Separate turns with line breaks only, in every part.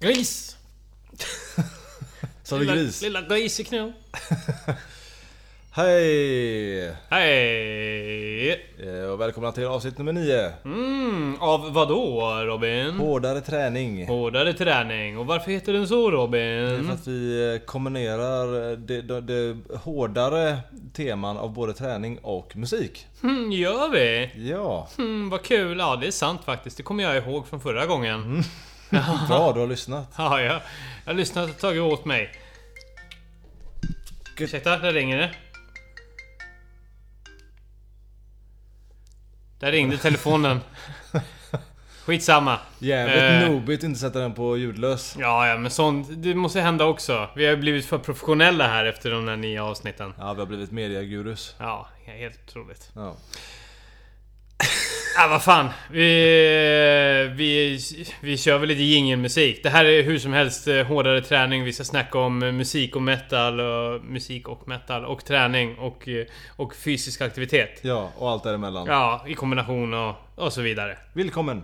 Gris!
Sa du
Lilla-
gris?
Lilla griseknö.
Hej!
Hej!
Eh, Och välkomna till avsnitt nummer 9.
Mm, av vad då Robin?
Hårdare träning.
Hårdare träning. Och varför heter den så
För
Robin?
att vi eh, kombinerar eh, det, det, det hårdare teman av både träning och musik.
Hmm, gör vi?
Ja,
Hmm, vad kul. Ja, det är sant faktiskt. Det kommer jag ihåg från förra gången.
bra du har lyssnat.
Ja, jag, jag har lyssnat och tagit åt mig.
Gud.
Ursäkta, där ringer det. Där ringde telefonen. Skitsamma.
Jävligt
Eh.
nobigt att inte sätta den på ljudlös.
Ja, ja, men sånt. Det måste hända också. Vi har ju blivit för professionella här efter de där nya avsnitten.
Ja, vi har blivit mediagurus.
Ja, helt otroligt.
Ja.
Ah, vad fan. Vi, vi, vi kör väl lite jingelmusik. Det här är hur som helst eh, hårdare träning. Vi ska snacka om eh, musik och metal. Och musik och metal. Och träning och, eh, och fysisk aktivitet.
ja, och allt däremellan.
Ja, i kombination och, och så vidare.
Välkommen!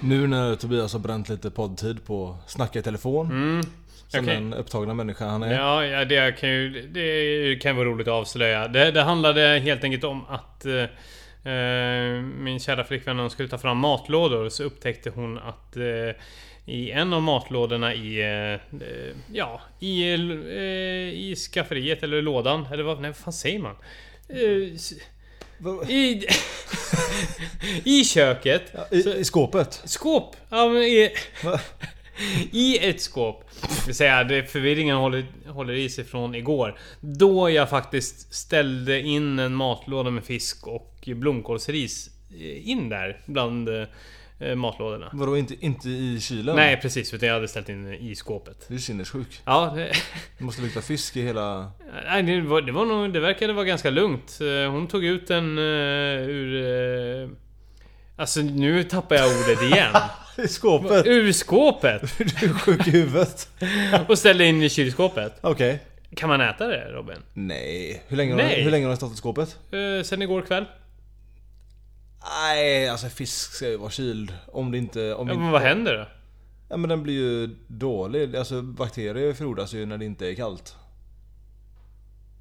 Nu när Tobias har bränt lite poddtid på snacka i telefon. Som
Mm. okej.
den upptagna människan han är.
Ja, ja det, kan ju, det kan vara roligt att avslöja. Det, det handlade helt enkelt om att eh, eh, min kära flickvän när hon skulle ta fram matlådor så upptäckte hon att eh, i en av matlådorna i, eh, eh, ja, i, eh, i skafferiet eller lådan, eller vad, nej, vad fan säger man? Eh, s-
Vad-
I, I köket.
Ja, I, I skåpet?
Skåp! Ja, men i,
Va?
I ett skåp. Det vill säga, det förvirringen håller, håller i sig från igår. Då jag faktiskt ställde in en matlåda med fisk och blomkålsris eh, in där bland eh, matlådorna.
Vadå inte, inte i kylen?
Nej precis, utan jag hade ställt in i skåpet.
Du är sinnessjuk.
Ja, det,
Det måste lukta fisk i hela...
nej, det, var, det, var nog, det verkade vara ganska lugnt. Eh, Hon tog ut den eh, ur... eh, Alltså nu tappar jag ordet igen.
I skåpet?
Ur skåpet!
Du är sjuk i huvudet.
Och ställde in i kylskåpet.
Okej.
Kan man äta det Robin?
Nej. Hur länge, har
Nej.
Den, hur länge har den stått i skåpet?
Eh, sen igår kväll.
Nej, alltså fisk ska ju vara kyld. Om det inte... Om
Ja,
inte
men vad händer då?
ja, men den blir ju dålig. Alltså bakterier frodas ju när det inte är kallt.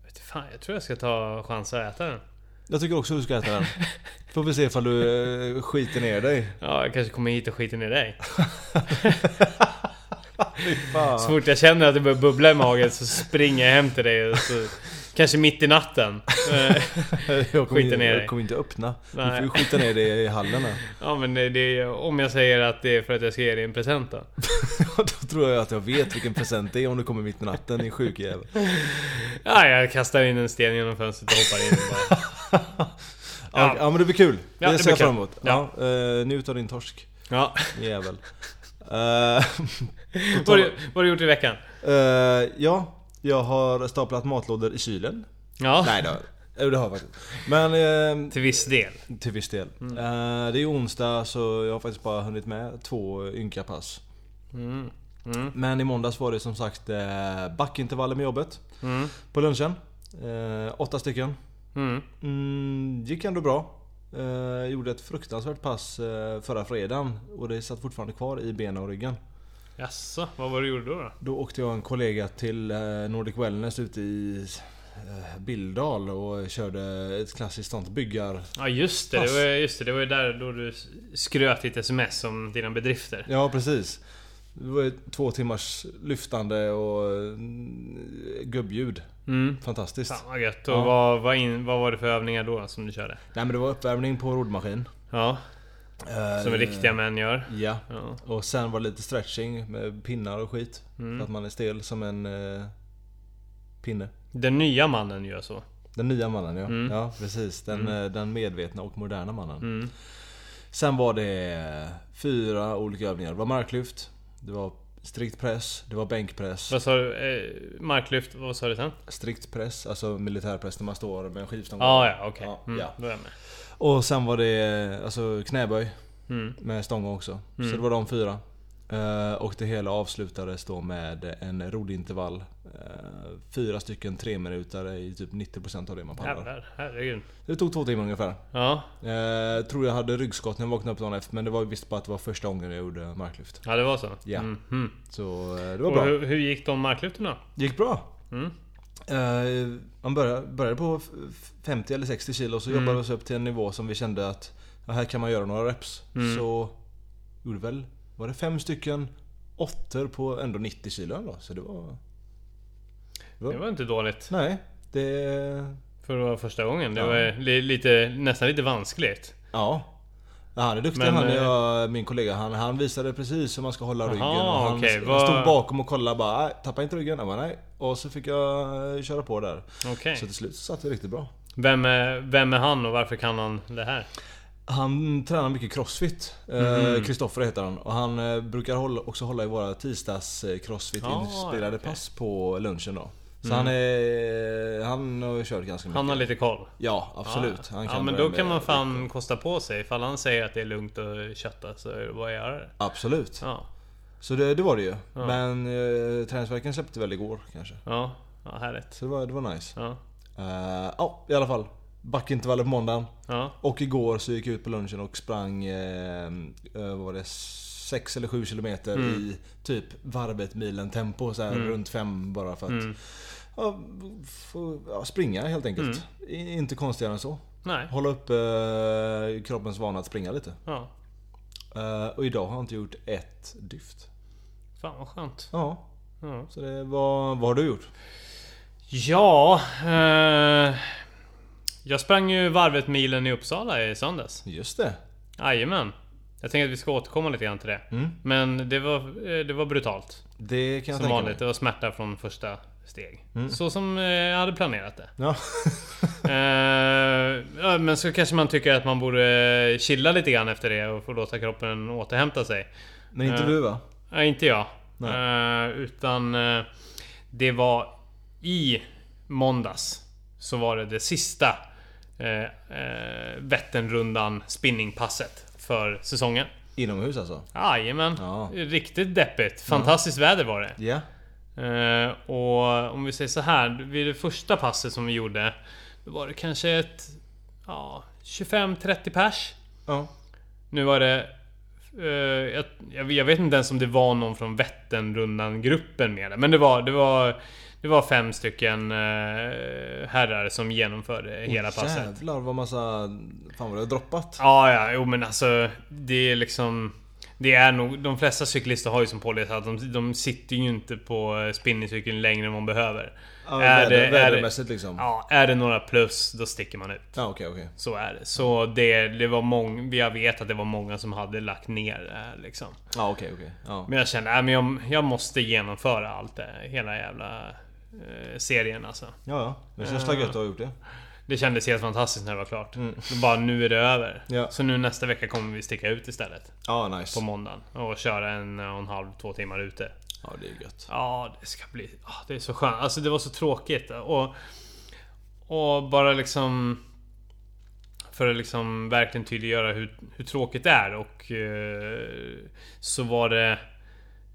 Vet du Fan, jag tror jag ska ta chans att äta den.
Jag tycker också du ska äta den. Får vi se ifall du eh, skiter ner dig.
Ja, jag kanske kommer hit och skiter ner dig.
Fy fan.
Så fort jag känner att det börjar bubbla i magen så springer jag hem till dig och så... Kanske mitt i natten. Eh,
Jag kommer,
Skiter ner dig.
jag kommer inte öppna.
Nej.
Du får ju skita ner dig i hallen här.
ja men det det är, om jag säger att det är för att jag ska ge dig en present då.
Då tror jag att jag vet vilken present det är om du kommer mitt i natten din sjukjävel.
Ja, jag kastar in en sten genom fönstret och hoppar in bara.
Ja. ja men det blir kul.
Ja, det
det ser jag
blir
fram
kul.
emot. Ja. eh, njut av din torsk
Ja.
jävel. Eh,
Vad har du- vad har du gjort i veckan?
eh, ja, jag har staplat matlådor i kylen.
Ja,
Nej då. Jo det har jag faktiskt. Men eh,
till viss del.
till viss del.
Mm.
Eh, det är onsdag så jag har faktiskt bara hunnit med två ynka pass.
Mm. Mm.
Men i måndags var det som sagt eh, backintervaller med jobbet.
Mm.
På lunchen. Eh, åtta stycken.
Mm.
Mm, gick ändå bra. Eh, gjorde ett fruktansvärt pass eh, förra fredagen och det satt fortfarande kvar i benen och ryggen.
Jaså, vad var det du gjorde då? då?
Då åkte jag och en kollega till eh, Nordic Wellness ute i eh, Bildal och körde ett klassiskt sånt byggar...
Ja just det, det
Pass.
var, just det, det var ju där då du skröt ditt sms om dina bedrifter.
Ja precis. Det var ju två timmars lyftande och mm, gubbljud.
Mm.
Fantastiskt.
Fan vad gött. Och
Ja.
vad, vad, in, vad var det för övningar då som du körde?
Nej men det var uppvärmning på roddmaskin.
Ja,
Eh,
som riktiga män gör.
Ja.
Ja.
Och sen var det lite stretching med pinnar och skit.
Mm.
För att man är stel som en eh, pinne.
Den nya mannen gör så.
Den nya mannen ja.
Mm.
Ja precis. Den, eh, den medvetna och moderna mannen. Sen var det eh, fyra olika övningar. Det var marklyft. Det var strikt press. Det var bänkpress.
Vad sa du? Eh, marklyft, vad sa du sen?
Strikt press. Alltså militärpress när man står med en skivstång.
Ah, ja, okej.
Ja,
Mm,
ja.
Då är jag med.
Och sen var det eh, alltså, knäböj.
Mm.
Med stång också. Så det var de fyra. Eh, Och det hela avslutades då med en roddintervall. Eh, Fyra stycken treminutare i typ 90% av det man pallar.
Jävlar, herregud.
Det tog två timmar ungefär.
Ja.
Eh, tror jag hade ryggskott när jag vaknade upp dagen efter men det var visst bara att det var första gången jag gjorde marklyft.
ja, det var så.
Ja.
Mhm.
Så eh, det var
Och
bra.
hur, hur gick de marklyften då?
gick bra.
Mm.
Eh, man började, började på f- f- 50 eller 60 kilo
Mm.
så jobbade vi oss upp till en nivå som vi kände att ja, här kan man göra några reps.
Mm.
Så gjorde väl, var det fem stycken åttor på ändå 90 kilo ändå. Så det var...
Det var inte dåligt.
Nej, det...
För det var första gången. Det
Ja.
var li- lite, nästan lite vanskligt.
Ja. Ja, Han är duktig
Men,
han
eh,
är jag, min kollega. Han, han visade precis hur man ska hålla
Jaha,
ryggen. och han,
okej,
han
vad-
stod bakom och kollade bara, "Nej, tappa inte ryggen. Jag bara, nej. Och så fick jag eh, köra på där.
Okej.
Så till slut så satt det riktigt bra.
Vem, är- vem är han och varför kan han det här?
Han tränar mycket crossfit.
Mm.
Kristoffer heter han. Och han eh, brukar hålla, också hålla i våra tisdags eh, crossfit
Ah,
inspelade
okej. Mm.
pass på lunchen då. Så han, är, han har kört ganska mycket.
Han har lite koll.
Ja, absolut.
Ja,
Han
ja men
börja
då kan
med-
man fan kosta på sig. Ifall han säger att det är lugnt att kötta så är det bara att göra det.
Absolut.
Ja,
Så det, det var det ju. Men eh, träningsverken släppte väl igår kanske.
ja, ja härligt.
Så det var, det var nice.
Ja,
Eh, Ja, i alla fall. Backintervaller på måndagen.
ja.
Och igår så gick jag ut på lunchen och sprang, eh, eh, vad var det, 6 eller 7 kilometer
Mm.
i typ varvet milen tempo. Så här runt 5 bara för att
Mm.
ja, få, ja, springa helt enkelt.
Mm.
I- Inte konstigare än så.
Nej.
Hålla upp eh, kroppens vana att springa lite.
Ja.
Eh, och idag har jag inte gjort ett dyft.
Fan vad skönt.
Ja,
Ja,
så det var, vad har du gjort?
ja eh, Jag sprang ju varvet milen i Uppsala i söndags.
Just det.
Jajamän. Jag tänker att vi ska återkomma lite grann till det. Men det var, eh, det var brutalt.
Det kan Mm. jag
Som
tänka
vanligt. Det
mig. Mm.
var smärta från första steg. Så som eh, jag hade planerat det.
Ja.
Eh, ja, men så kanske man tycker att man borde chilla lite grann efter det och få låta kroppen återhämta sig.
Men inte
Eh.
du va?
Nej, inte jag.
Nej.
Eh, utan eh, det var i måndags så var det det sista eh, eh, Vätternrundan spinningpasset för säsongen. Ah,
Inomhus alltså?
Jajamän.
Ja.
Riktigt deppigt. Fantastiskt väder var det.
Ja.
Eh, och om vi säger så här, vid det första passet som vi gjorde, då var det kanske ett ja, 25-30 pers.
Ja.
Nu var det... eh, jag, jag, jag vet inte ens om det var någon från Vätternrundan-gruppen med det, men det var, det var, det var fem stycken eh, herrar som genomförde hela passet.
Jävlar vad massa... Fan vad det har droppat.
Ja, ja, jo men alltså det är liksom... Det är nog, de flesta cyklister har ju som policy att de, de sitter ju inte på eh, spinningcykeln längre än man behöver.
Ja,
är,
väder,
det, är, det,
vädermässigt liksom. Ja
ja, är det några plus, då sticker man ut.
okej okej.
Så är det. Så det, det var många, jag vet att det var många som hade lagt ner det här liksom.
Ja okej okej. Ja.
Men jag kände, äh, men jag, jag måste genomföra allt det, här, hela jävla eh, serien alltså.
Ja ja. Det känns väl gött att ha gjort det.
Det kändes helt fantastiskt när det var klart. Så Bara nu är det över.
Ja.
Så nu nästa vecka kommer vi sticka ut istället.
Ja
på
nice.
måndagen och köra en eh, och en halv, två timmar ute.
Ja det är gött.
Ja, det ska bli... ah, Det är så skönt. Alltså det var så tråkigt. Och, och bara liksom... För att liksom verkligen tydliggöra hur, hur tråkigt det är och... eh, Så var det...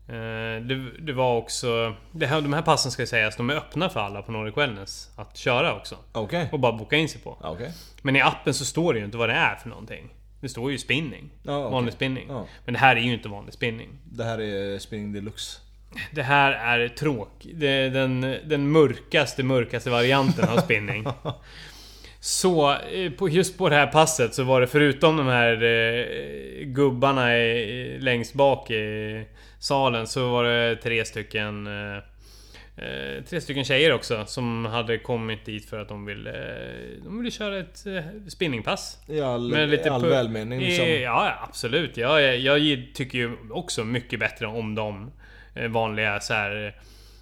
eh, Det, det var också... Det här, de här passen ska jag säga, de är öppna för alla på Nordic Wellness att köra också.
Okej.
Och bara boka in sig på.
Ja okej.
Men i appen så står det ju inte vad det är för någonting. Det står ju spinning.
Ja, okej.
Vanlig spinning.
Ja.
Men det här är ju inte vanlig spinning.
Det här är spinning deluxe.
Det här är tråk. Det är den, den mörkaste, mörkaste varianten av spinning. Så eh, på, just på det här passet så var det förutom de här eh, gubbarna i, i- längst bak i salen så var det tre stycken eh, eh, Tre stycken tjejer också som hade kommit dit för att de ville, eh, de ville köra ett eh, spinningpass.
I all,
Men
i all
pu-
välmening liksom.
Eh, Ja, ja, absolut. Jag, jag, gi- tycker ju också mycket bättre om de eh, vanliga så här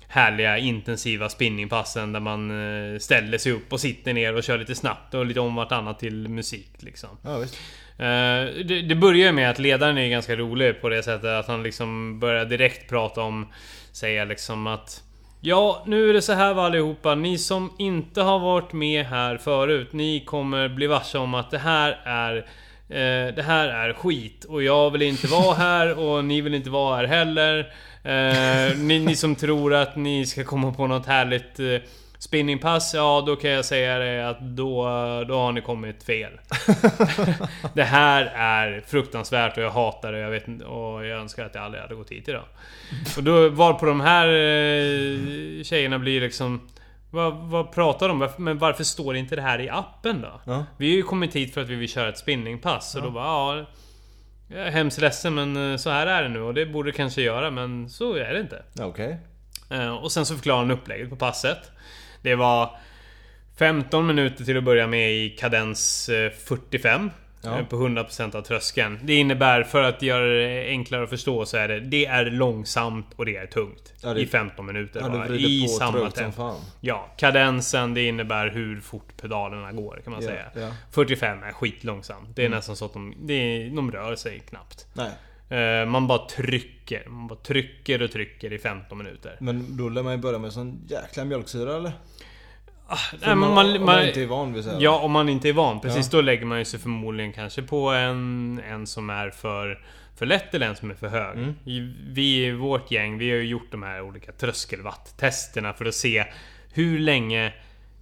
härliga intensiva spinningpassen där man eh, ställer sig upp och sitter ner och kör lite snabbt och lite om vartannat till musik liksom.
Ja visst.
Eh, det, det börjar med att ledaren är ganska rolig på det sättet att han liksom börjar direkt prata om... Säga liksom att... Ja, nu är det så här va allihopa. Ni som inte har varit med här förut, ni kommer bli varse om att det här är Eh, det här är skit och jag vill inte vara här och ni vill inte vara här heller. Eh, ni, ni som tror att ni ska komma på något härligt eh, spinningpass, ja då kan jag säga det att då, då har ni kommit fel. det här är fruktansvärt och jag hatar det jag vet, inte- och jag önskar att jag aldrig hade gått hit idag. Och då var på de här eh, tjejerna blir liksom... Vad, vad pratar de om? Varför- Men varför står inte det här i appen då?
Ja.
Vi har ju kommit hit för att vi vill köra ett spinningpass och då bara ja... Jag är hemskt ledsen men eh, så här är det nu och det borde det kanske göra men så är det inte.
Ja, Okej.
Eh, Och sen så förklarar han upplägget på passet. Det var 15 minuter till att börja med i kadens eh, 45.
Ja.
eh, På 100% av tröskeln. Det innebär, för att göra det enklare att förstå, så är det det är långsamt och det är tungt.
Ja, det-
I 15 minuter
Ja, du
bara.
vrider
I
på
samma
trögt som
tempo.
fan.
Ja, kadensen det innebär hur fort pedalerna går kan man
Ja,
säga.
ja. Mm.
45 är skitlångsamt. Det är nästan så att de, det är, de rör sig knappt.
Nej.
Eh, Man bara trycker. Man bara trycker och trycker i 15 minuter.
Men då lär man ju börja med sån jäkla mjölksyra eller?
Nej, men
man,
man,
om
man,
man inte är van vid så här.
Ja, om man inte är van. Precis, då lägger man ju sig förmodligen kanske på en, en som är för, för lätt eller en som är för hög.
Mm.
I- Vi i vårt gäng, vi har ju gjort de här olika tröskelvatt-testerna för att se hur länge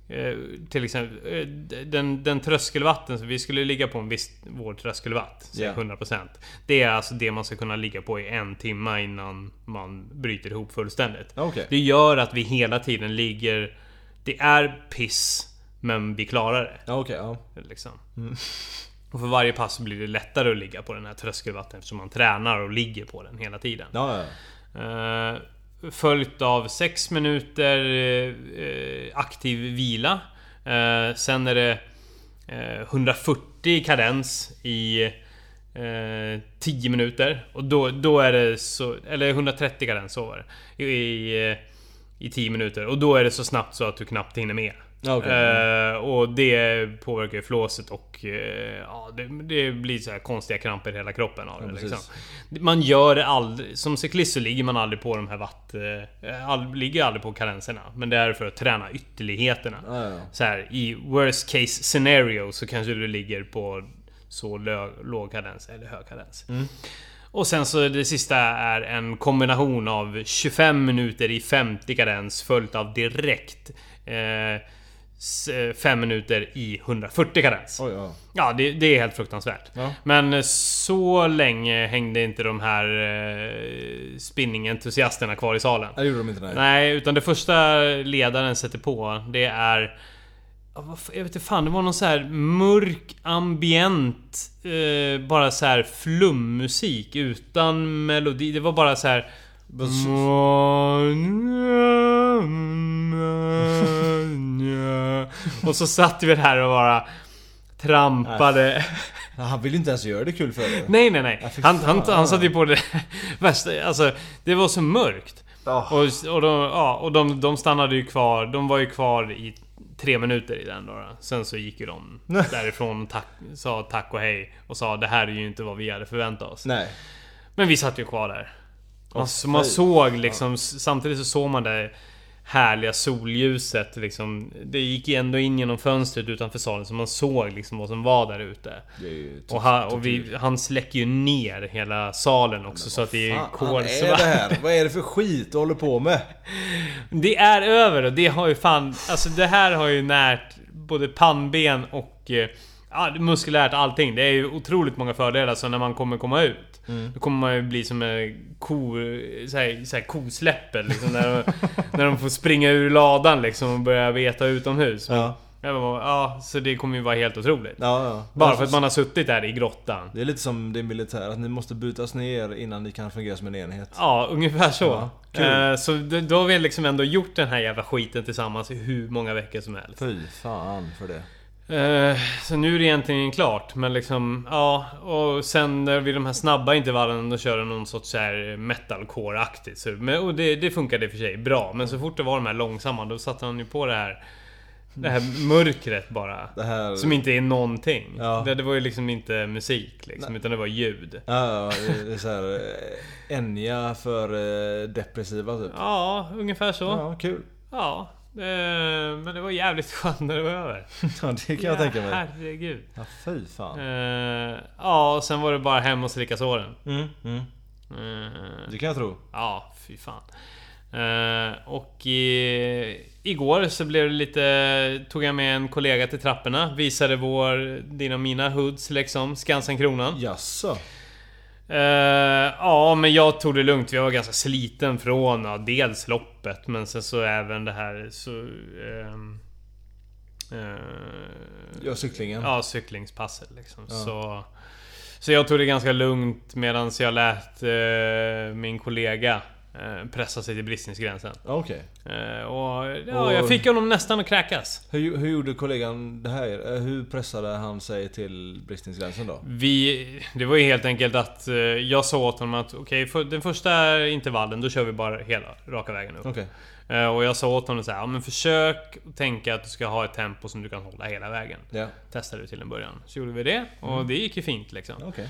eh, till exempel eh, d- den, den tröskelvatten, så vi skulle ligga på en viss vår tröskelvatt, säg
Ja.
100%. Det är alltså det man ska kunna ligga på i en timme innan man bryter ihop fullständigt.
Okej.
Det gör att vi hela tiden ligger... Det är piss, men vi klarar det.
Ja, Okej, ja.
Liksom. Och för varje pass blir det lättare att ligga på den här tröskelvatten eftersom man tränar och ligger på den hela tiden.
Ja, ja.
Eh, följt av 6 minuter eh, eh, aktiv vila. Eh, sen är det eh, 140 kadens i eh, 10 minuter. Och då, då är det så... Eller 130 kadens, så var det. I, i, eh, I 10 minuter. Och då är det så snabbt så att du knappt hinner med.
Ja, okej.
Eh, och det påverkar ju flåset och eh, ja, det, det blir så här konstiga kramper i hela kroppen av det.
precis.
Liksom. Man gör det aldrig. Som cyklist så ligger man aldrig på de här vatt... eh, All, ligger aldrig på karenserna. Men det är för att träna ytterligheterna.
Ja, ja, ja.
Så här, I worst case scenario så kanske du ligger på så lö- låg kadens eller hög kadens. Och sen så det sista är en kombination av 25 minuter i 50 kadens följt av direkt 5 minuter i 140 kadens.
Oj, ja.
Ja, det, det är helt fruktansvärt.
Ja.
Men så länge hängde inte de här eh, spinningentusiasterna kvar i salen.
Nej, det gjorde de inte. Nej.
Nej, utan det första ledaren sätter på, det är... ja, vad f- Jag vet inte fan, det var någon så här mörk ambient... Eh, bara så här flummusik utan melodi. Det var bara så här... Och så satt vi där och bara trampade.
Han vill ju inte ens göra det kul för dig.
Nej, nej, nej.
fy
Han, han,
fan.
han satt ju på det värsta. Alltså, det var så mörkt.
Ja.
Och, och, de, ja, och de, de stannade ju kvar. De var ju kvar i tre minuter i den då. då. Sen så gick ju de därifrån och tack, sa tack och hej. Och sa det här är ju inte vad vi hade förväntat oss.
Nej.
Men vi satt ju kvar där. Man,
Åh,
man
fy.
såg liksom, s- samtidigt så såg man det härliga solljuset liksom. Det gick ju ändå in genom fönstret utanför salen så man såg liksom vad som var där ute.
Det är ju
Och, han, och vi, han släcker ju ner hela salen också så att det är
Fan, vad är
kolsvart.
det här? Vad är det för skit du håller på med?
Det är över och det har ju fan... Alltså det här har ju närt både pannben och eh, ja, muskulärt allting. Det är ju otroligt många fördelar så när man kommer komma ut.
Mm.
Då kommer man ju bli som en ko... Så här, så här kosläppel liksom. När de, när de får springa ur ladan liksom och börja veta utomhus.
Ja.
Jag bara, ja, så det kommer ju vara helt otroligt.
Ja, ja.
Bara för att man har suttit där i grottan.
Det är lite som det militära, att ni måste brytas ner innan ni kan fungera som en enhet.
Ja, ungefär så.
Ja, kul.
Eh, så då, då har vi liksom ändå gjort den här jävla skiten tillsammans i hur många veckor som helst.
Fy fan för det.
Eh, så nu är det egentligen klart, men liksom... Ja, och sen när vid de här snabba intervallen då kör de någon sorts så här metalcore-aktigt. Så, men, och det, det funkade i och för sig bra, men så fort det var de här långsamma då satte han ju på det här... Det här mörkret bara.
Det här...
Som inte är någonting.
Ja.
Det, det var ju liksom inte musik liksom, utan det var ljud.
Ja, ja, det är såhär... Enya för eh, depressiva typ.
Ja, ungefär så.
Ja, kul.
Ja, Eh, Men det var jävligt skönt när det var över.
Ja, det kan jag tänka mig.
Herregud.
Ja, fy fan.
Eh, ja, och sen var det bara hem och slicka såren.
Mm, mm.
Eh,
Det kan jag tro.
Ja, fy fan. Eh, och i, igår så blev det lite... Tog jag med en kollega till trapporna. Visade vår, dina och mina hoods liksom. Skansen-Kronan.
Jaså?
Eh, ja, men jag tog det lugnt. Jag var ganska sliten från ja, dels loppet, men sen så även det här... Så, ehm, eh,
Ja, cyklingen.
Ja, cyklingspasset liksom. Så, så jag tog det ganska lugnt medan jag lät eh, min kollega eh, pressa sig till bristningsgränsen.
Ja, Okej.
Eh, och, ja,
Och-
jag fick honom nästan att kräkas.
Hur, hur gjorde kollegan det här? Eh, Hur pressade han sig till bristningsgränsen då?
Vi, det var ju helt enkelt att eh, jag sa åt honom att okej, för den första intervallen då kör vi bara hela, raka vägen upp.
Okej.
Eh, och jag sa åt honom så här, ja, men försök tänka att du ska ha ett tempo som du kan hålla hela vägen.
Ja.
Testade vi till en början. Så gjorde vi det och det gick ju fint liksom.
Okej.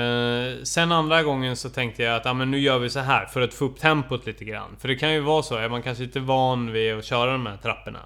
Eh, sen andra gången så tänkte jag att ah, men nu gör vi så här för att få upp tempot lite grann. För det kan ju vara så, är man kanske inte van vid att köra de här trapporna.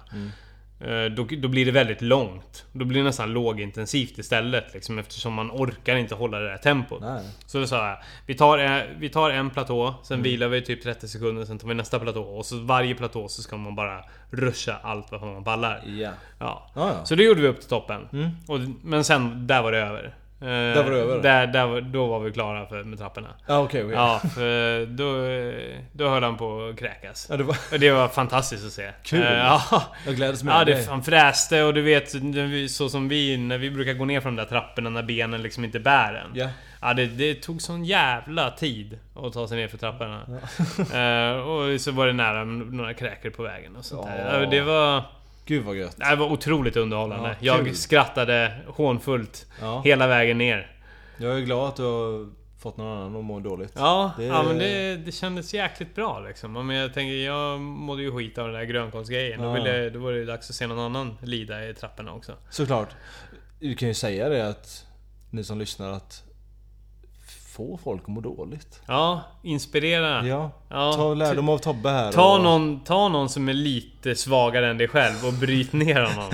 eh, Då, då blir det väldigt långt. Då blir det nästan lågintensivt istället liksom, eftersom man orkar inte hålla det där tempot.
Nej.
Så då sa jag, vi tar, eh, vi tar en platå, sen
Mm.
vilar vi typ 30 sekunder, sen tar vi nästa platå. Och så varje platå så ska man bara ruscha allt vad man ballar.
Ja.
Ja.
Ja, ja.
Så det gjorde vi upp till toppen. Och, men sen, där var det över. Eh, där
Mm. var det över?
Där, var, då var vi klara för, med trapporna.
Ja, okej. okej.
Ja, för då, eh, då höll han på att kräkas.
Ja, det var...
Och det var fantastiskt att se.
Kul.
Eh, Ja,
Jag gläds med
ja det
dig.
han fräste och du vet när vi- så som vi när vi brukar gå ner från de där trapporna när benen liksom inte bär en.
Ja.
Ja, det, det tog sån jävla tid att ta sig ner för trapporna. Eh, och så var det nära några kräkor på vägen och sånt där.
Ja.
Ja, Det var...
Gud vad gött.
Det var otroligt underhållande.
Ja, kul.
jag skrattade hånfullt
Ja.
hela vägen ner.
Jag är glad att du har fått någon annan att må dåligt.
Ja,
Det-
ja men det, det kändes jäkligt bra liksom. Men jag tänker, jag mådde ju skit av den där grönkålsgrejen.
Ja.
Då, ville, då var det ju dags att se någon annan lida i trapporna också.
Såklart. Du kan ju säga det att ni som lyssnar att få folk att må dåligt.
Ja, inspirera.
Ja.
Ja, typ.
Ta lärdom av Tobbe här.
Ta
och-
någon, ta någon som är lite svagare än dig själv och bryt ner honom.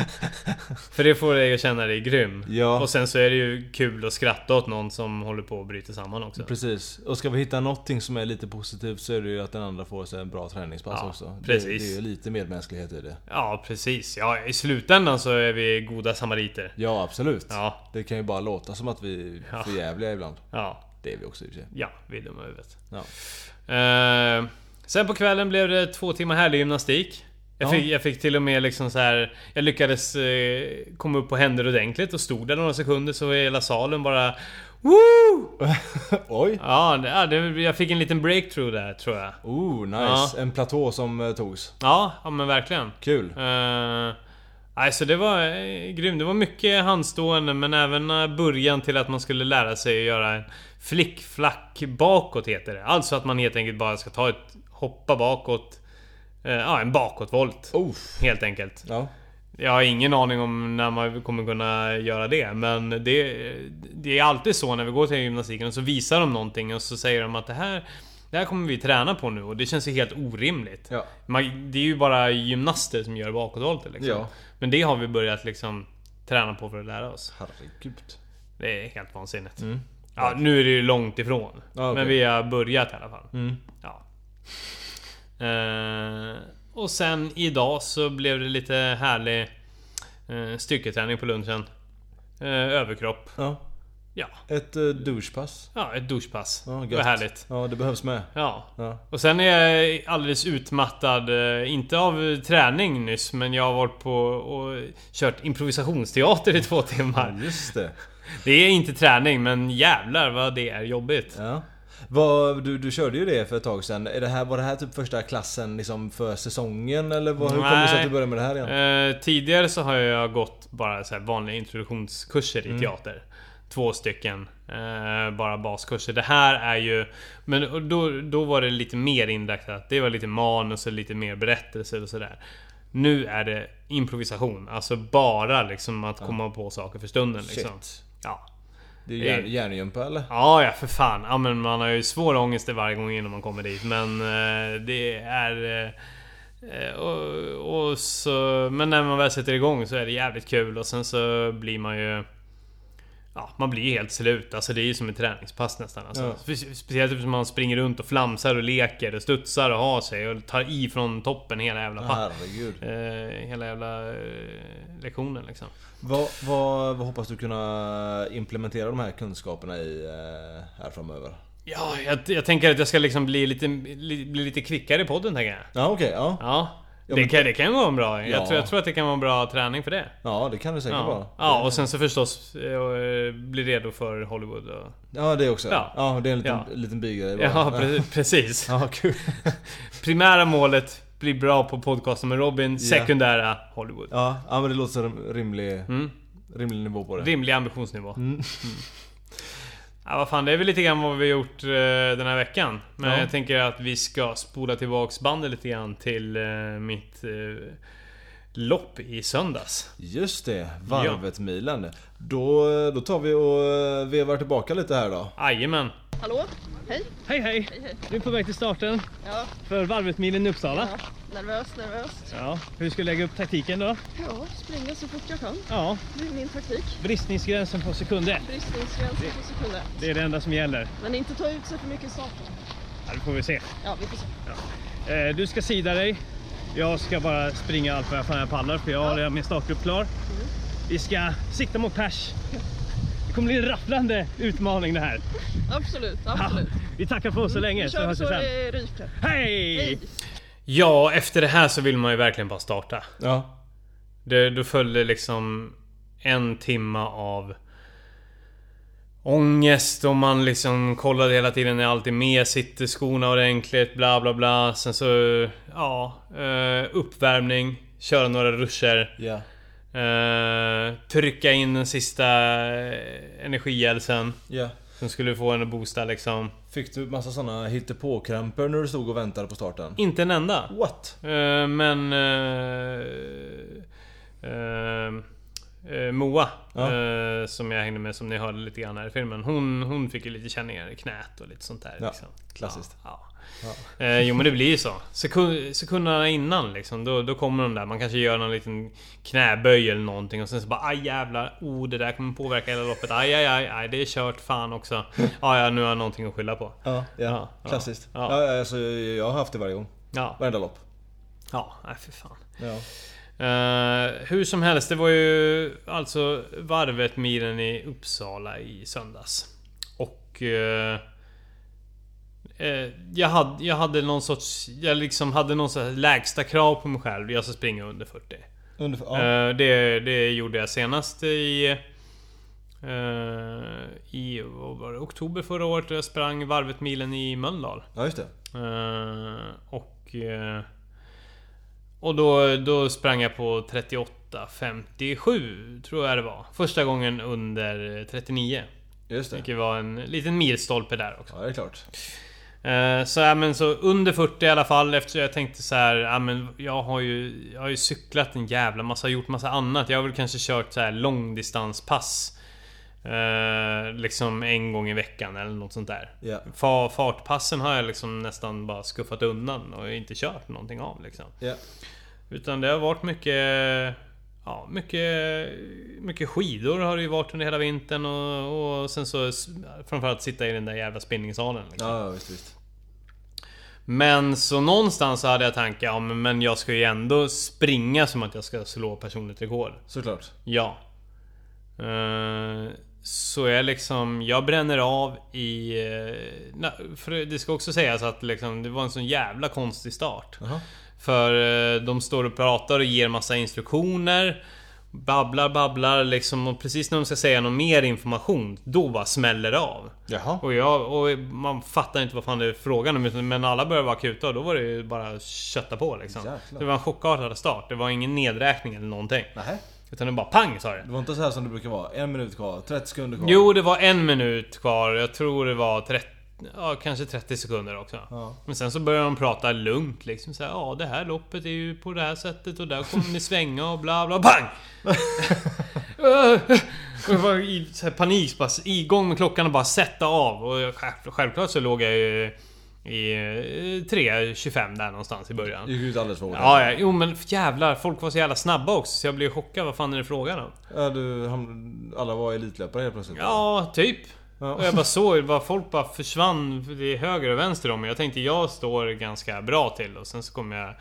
För det får dig att känna dig grym.
Ja.
Och sen så är det ju kul att skratta åt någon som håller på och bryter samman också.
Precis. Och ska vi hitta någonting som är lite positivt så är det ju att den andra får sig en bra träningspass
Ja,
också. Det,
precis.
det är ju lite medmänsklighet i det.
Ja, precis. Ja, I slutändan så är vi goda samariter.
Ja, absolut.
Ja.
Det kan ju bara låta som att vi är
Ja.
förjävliga ibland.
Ja,
Det är vi också i och för sig.
ja vi är dumma i huvudet.
Ja.
Eh, sen på kvällen blev det två timmar härlig gymnastik. Jag,
Ja.
fick, jag fick till och med liksom så här. Jag lyckades eh, komma upp på händer ordentligt och stod där några sekunder så var hela salen bara Woo!
Oj!
Ja, det, ja, det, jag fick en liten breakthrough där tror jag.
Oh, nice.
Ja.
En platå som eh, togs.
Ja, ja men verkligen.
Kul.
Uh, alltså det var eh, grymt. Det var mycket handstående men även eh, början till att man skulle lära sig att göra en flickflack bakåt heter det. Alltså att man helt enkelt bara ska ta ett hoppa bakåt. eh, Ja, en bakåtvolt.
Oof.
Helt enkelt.
Ja.
Jag har ingen aning om när man kommer kunna göra det, men det, det är alltid så när vi går till gymnastiken och så visar de någonting och så säger de att det här, det här kommer vi träna på nu och det känns ju helt orimligt.
Ja.
Man, det är ju bara gymnaster som gör bakåtvolter liksom.
Ja.
Men det har vi börjat liksom träna på för att lära oss.
Herregud.
Det är helt vansinnigt. Ja, nu är det ju långt ifrån.
Mm. Ja, okej.
Men vi har börjat i alla fall.
Mm.
Ja. Eh, och sen idag så blev det lite härlig eh, styrketräning på lunchen. Eh, överkropp.
Ja.
Ja,
Ett uh, douchepass.
ja ett duschpass.
Ja,
det var härligt.
Ja, det behövs med.
Ja.
Ja.
Och sen är jag alldeles utmattad, eh, inte av träning nyss, men jag har varit på och kört improvisationsteater i två timmar.
Just det.
Det är inte träning, men jävlar vad det är jobbigt.
Ja. Vad, du, du körde ju det för ett tag sedan. Är det här, var det här typ första klassen liksom för säsongen? Eller vad, hur kom det sig att
Nej.
du började med det här igen?
Eh, tidigare så har jag gått bara så här vanliga introduktionskurser i teater. Två stycken. Eh, bara baskurser. Det här är ju... Men och då, då var det lite mer inriktat. Det var lite manus och lite mer berättelse och sådär. Nu är det improvisation. Alltså bara liksom att komma på saker för stunden. Liksom.
Shit.
Ja.
Det är järn, järngympa eller?
eh. Ja, ja för fan. Ja, men man har ju svår ångest varje gång innan man kommer dit. Men eh, det är... eh, Och, och, så, men när man väl sätter igång så är det jävligt kul och sen så blir man ju... Ja, man blir helt slut. Alltså det är ju som ett träningspass nästan. Alltså.
Ja.
Spe- Speciellt eftersom man springer runt och flamsar och leker och studsar och har sig och tar i från toppen hela jävla,
Ja,
pa-
Herregud.
eh, hela jävla eh, lektionen liksom.
Vad, vad, vad hoppas du kunna implementera de här kunskaperna i eh, här framöver?
Ja, jag, jag tänker att jag ska liksom bli lite, li, bli lite kvickare i podden tänker jag.
Ja okej, ja.
Ja.
Ja,
det,
men-
kan, det kan vara en bra.
Ja.
Jag, tror, jag tror att det kan vara en bra träning för det.
Ja det kan du säkert vara.
Ja. ja, och sen så förstås eh, bli redo för Hollywood. Och...
Ja det också. Ja,
Ja.
det är en liten,
Ja.
liten bigrej bara.
Ja, pre- precis.
Ja, kul.
Primära målet, bli bra på podcasten med Robin. Sekundära, Hollywood.
Ja, ja men det låter som en rimlig,
Mm.
rimlig nivå på det.
Rimlig ambitionsnivå. Mm. Ja, vad fan, det är väl lite grann vad vi har gjort eh, den här veckan. Men
Ja.
jag tänker att vi ska spola tillbaks bandet lite grann till eh, mitt eh, lopp i söndags.
Just det, Varvet-milen. Då, då tar vi och eh, vevar tillbaka lite här då.
Jajamän.
Hallå? Hej?
Hej hej! Du är på väg till starten
Ja,
för Varvet-milen i Uppsala.
ja. Nervös, nervös.
Ja, hur ska du lägga upp taktiken då?
Ja, springa så fort jag kan.
Ja,
Det är min taktik.
bristningsgränsen på sekunder.
Bristningsgränsen på sekunder.
Det är det enda som gäller.
Men inte ta ut sig för mycket i starten.
Ja, det får vi se.
Ja, vi får se.
Eh, Du ska sida dig. Jag ska bara springa allt vad jag fan jag pallar för jag har redan min startgrupp
Mm.
klar. Vi ska sikta mot pers. Det kommer bli en rafflande utmaning det här.
Absolut, absolut. Mm.
Vi tackar för oss så länge
Vi
så
kör
hörs vi
så
sen.
det ryker.
Hej!
Hej!
Ja, efter det här så vill man ju verkligen bara starta.
Ja.
Det, då följde liksom en timme av ångest och man liksom kollade hela tiden, är allt är med? Sitter skorna ordentligt? Bla bla bla. Sen så, ja, eh, uppvärmning, köra några ruscher.
Ja.
eh, trycka in den sista eh, energihjälsen
ja.
som skulle få en att boosta liksom.
Fick du massa såna hittepåkrämpor när du stod och väntade på starten?
Inte en enda.
What?
Eh, men... eh, eh, eh, Moa,
Ja.
eh, som jag hängde med som ni hörde lite grann här i filmen. Hon, hon fick ju lite känningar i knät och lite sånt där.
Ja,
liksom.
klassiskt.
Ja, ja. Eh, jo men det blir ju så. Sekund, sekunderna innan liksom, då, då kommer de där. Man kanske gör någon liten knäböj eller någonting och sen så bara aj jävlar. Oh det där kommer påverka hela loppet. Aj aj aj, aj det är kört fan också. Ja ja nu har jag någonting att skylla på.
Ja, ja.
Ja, ja.
Klassiskt. Ja.
Ja.
alltså, jag har haft det varje gång.
Ja,
Varenda lopp.
ja nej, för fan.
Ja.
Eh, hur som helst, det var ju alltså varvet milen i Uppsala i söndags. Och... eh, eh, jag, hade, jag hade någon sorts... Jag liksom hade någon sorts lägsta krav på mig själv. Jag ska springa under 40.
Ungefär, ja.
Eh, det, det gjorde jag senast i... eh, I vad var det, oktober förra året. Jag sprang varvet milen i Mölndal.
ja, just det.
Eh, och... eh, och då, då sprang jag på 38.57 tror jag det var. Första gången under 39.
Just det.
Vilket var en liten milstolpe där också.
Ja, det är klart.
Eh, Så, ja, men så under 40 i alla fall eftersom jag tänkte så här, ja, men jag har ju Jag har ju cyklat en jävla massa, gjort massa annat. Jag har väl kanske kört så här långdistanspass. eh, liksom en gång i veckan eller något sånt där.
Ja.
Fa- Fartpassen har jag liksom nästan bara skuffat undan och inte kört någonting av liksom.
Ja.
Utan det har varit mycket... Ja, mycket, mycket skidor har det ju varit under hela vintern och, och sen så s- framförallt sitta i den där jävla spinningsalen. Liksom.
Ja, ja, visst, visst.
Men så någonstans så hade jag tanken, ja men men jag ska ju ändå springa som att jag ska slå personligt rekord.
Såklart.
Ja. Eh, Så jag liksom, jag bränner av i... eh, na- För det ska också sägas att liksom, det var en sån jävla konstig start.
Jaha.
För eh, de står och pratar och ger massa instruktioner. Babblar, babblar liksom och precis när de ska säga någon mer information, då bara smäller det av.
Jaha.
Och, jag, och man fattar inte vad fan det är frågan om. utan- Men alla började vara akuta och då var det ju bara att kötta på liksom.
Jäklar.
Det var en chockartad start. Det var ingen nedräkning eller någonting.
Nej.
Utan det bara pang sa det.
Det var inte så här som det brukar vara. En minut kvar, 30 sekunder kvar.
Jo, det var en minut kvar. Jag tror det var 30, ja, kanske 30 sekunder också.
Ja.
Men sen så började de prata lugnt liksom. Så här, ja, det här loppet är ju på det här sättet och där kommer ni svänga och bla bla. Bang! Jag var i så här panik, bara igång med klockan och bara sätta av. Och jag- självklart så låg jag ju i eh, 3.25 där någonstans i början.
Det gick ut alldeles för hårt.
Ja, ja, jo men jävlar. Folk var så jävla snabba också så jag blev chockad. Vad fan är det frågan om?
Ja, du, hamn- alla var elitlöpare helt plötsligt.
Ja, typ.
Ja.
Och jag bara såg bara folk bara försvann till höger och vänster om mig. Jag tänkte jag står ganska bra till och sen så kommer jag...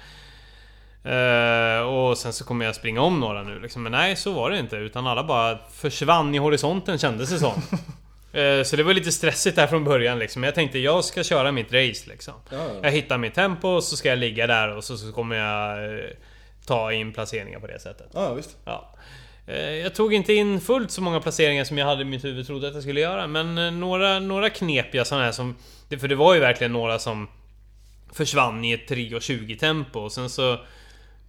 Eh, och sen så kommer jag springa om några nu liksom. Men nej, så var det inte. Utan alla bara försvann i horisonten kändes det som. Eh, Så det var lite stressigt där från början liksom. Jag tänkte jag ska köra mitt race liksom.
Ja, ja.
Jag hittar mitt tempo och så ska jag ligga där och så, så kommer jag eh, ta in placeringar på det sättet.
Ja, visst.
Ja. Eh, Jag tog inte in fullt så många placeringar som jag hade i mitt huvud trodde att jag skulle göra. Men eh, några, några knepiga sådana här som... det- För det var ju verkligen några som försvann i ett 3.20 tempo och sen så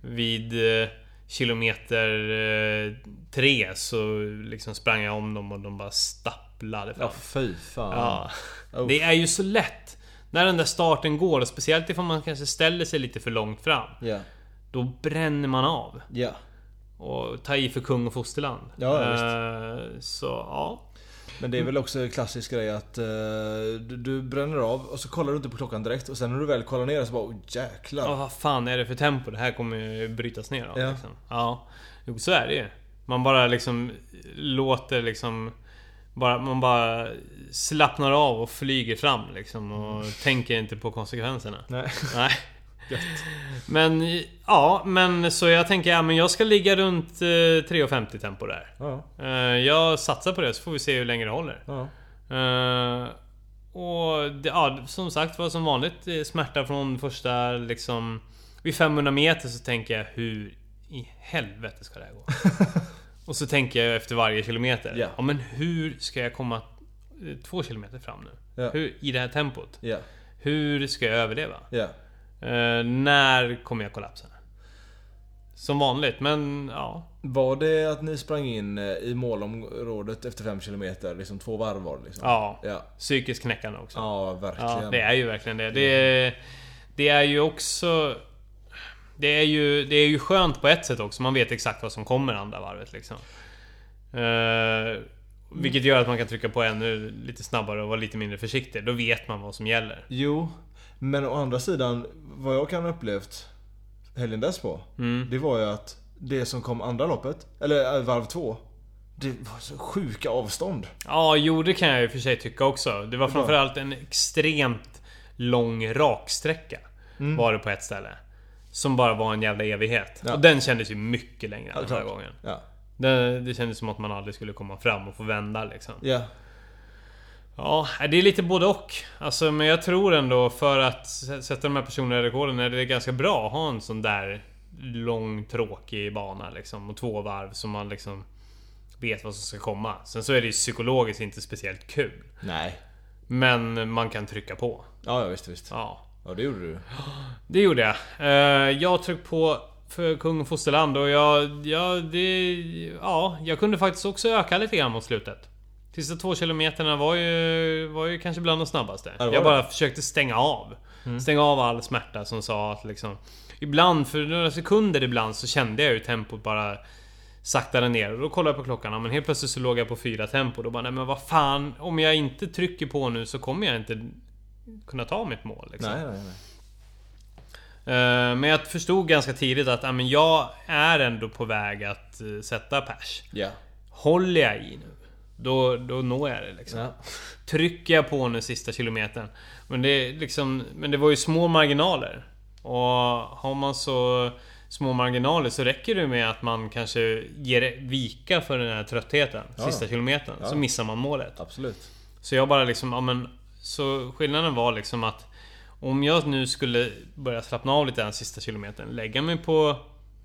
vid eh, kilometer eh, tre så liksom sprang jag om dem och de bara stapplade fram.
Ja, fy fan.
Ja.
Uff.
Det är ju så lätt. När den där starten går, och speciellt ifall man kanske ställer sig lite för långt fram.
Ja.
Då bränner man av.
Ja.
Och ta i för kung och fosterland.
Ja, ja,
Eh, Så ja.
Men det är väl också en klassisk grej att eh, du, du bränner av och så kollar du inte på klockan direkt och sen när du väl kollar ner så bara oh, jäklar.
Ja, vad fan är det för tempo? Det här kommer ju brytas ner av.
Ja.
Liksom. Ja. Jo, så är det ju. Man bara liksom låter liksom... Bara, man bara slappnar av och flyger fram liksom och tänker inte på konsekvenserna.
Mm. Nej.
Nej. Men ja, men så jag tänker ja, men jag ska ligga runt eh, 3.50 tempo där.
Ja,
Eh, jag satsar på det så får vi se hur länge det håller.
ja.
Eh, och det, ja, som sagt var som vanligt eh, smärta från första liksom... Vid 500 meter så tänker jag hur i helvete ska det här gå? och så tänker jag efter varje kilometer.
Ja.
Ja men hur ska jag komma eh, två kilometer fram nu?
Ja.
Hur, I det här tempot?
Ja,
Hur ska jag överleva?
ja.
Eh, när kommer jag kollapsa? Som vanligt, men ja.
Var det att ni sprang in eh, i målområdet efter 5 km? Liksom två varv var det liksom?
ja.
Ja,
Psykiskt knäckande också.
ja verkligen.
Ja, det är ju verkligen det. Det är, det är ju också... Det är ju, det är ju skönt på ett sätt också. Man vet exakt vad som kommer andra varvet liksom. Eh, vilket gör att man kan trycka på ännu lite snabbare och vara lite mindre försiktig. Då vet man vad som gäller.
Jo, men å andra sidan vad jag kan ha upplevt helgen desspå. Det var ju att det som kom andra loppet, eller eh, varv två. Det var så sjuka avstånd.
Ja, jo det kan jag ju för sig tycka också. Det var framförallt en extremt lång raksträcka. Var det på ett ställe. Som bara var en jävla evighet.
Ja.
Och den kändes ju mycket längre än den här
klart.
gången.
Ja,
Det, det kändes som att man aldrig skulle komma fram och få vända liksom.
ja.
Ja, det är lite både och. Alltså, men jag tror ändå för att s- sätta de här personliga rekorden är det ganska bra att ha en sån där lång tråkig bana liksom. Och två varv som man liksom vet vad som ska komma. Sen så är det ju psykologiskt inte speciellt kul.
Nej.
Men man kan trycka på.
Ja, ja visst, visst.
Ja,
Ja, det gjorde du.
det gjorde jag. Eh, Jag tryckte på för kung och fosterland och jag... Ja, det, ja, jag kunde faktiskt också öka lite grann mot slutet. Sista två kilometerna var ju, var ju kanske bland de snabbaste.
det Mm. var
Jag bara
det.
försökte stänga av. Stänga av all smärta som sa att liksom... Ibland, för några sekunder ibland, så kände jag ju tempot bara saktade ner. Och då kollade jag på klockan, ja, men helt plötsligt så låg jag på fyra tempo. Då bara, nej men vad fan. Om jag inte trycker på nu så kommer jag inte kunna ta mitt mål. Liksom.
Nej, nej, nej.
Eh, Men jag förstod ganska tidigt att ja, men jag är ändå på väg att eh, sätta pers.
Ja.
Håller jag i nu, då, då når jag det liksom.
Ja.
Trycker jag på nu sista kilometern. Men det, är liksom, men det var ju små marginaler. Och har man så små marginaler så räcker det med att man kanske ger vika för den här tröttheten sista kilometern. Så missar man målet.
Absolut.
Så jag bara liksom, ja men... Så skillnaden var liksom att... Om jag nu skulle börja slappna av lite den sista kilometern, lägga mig på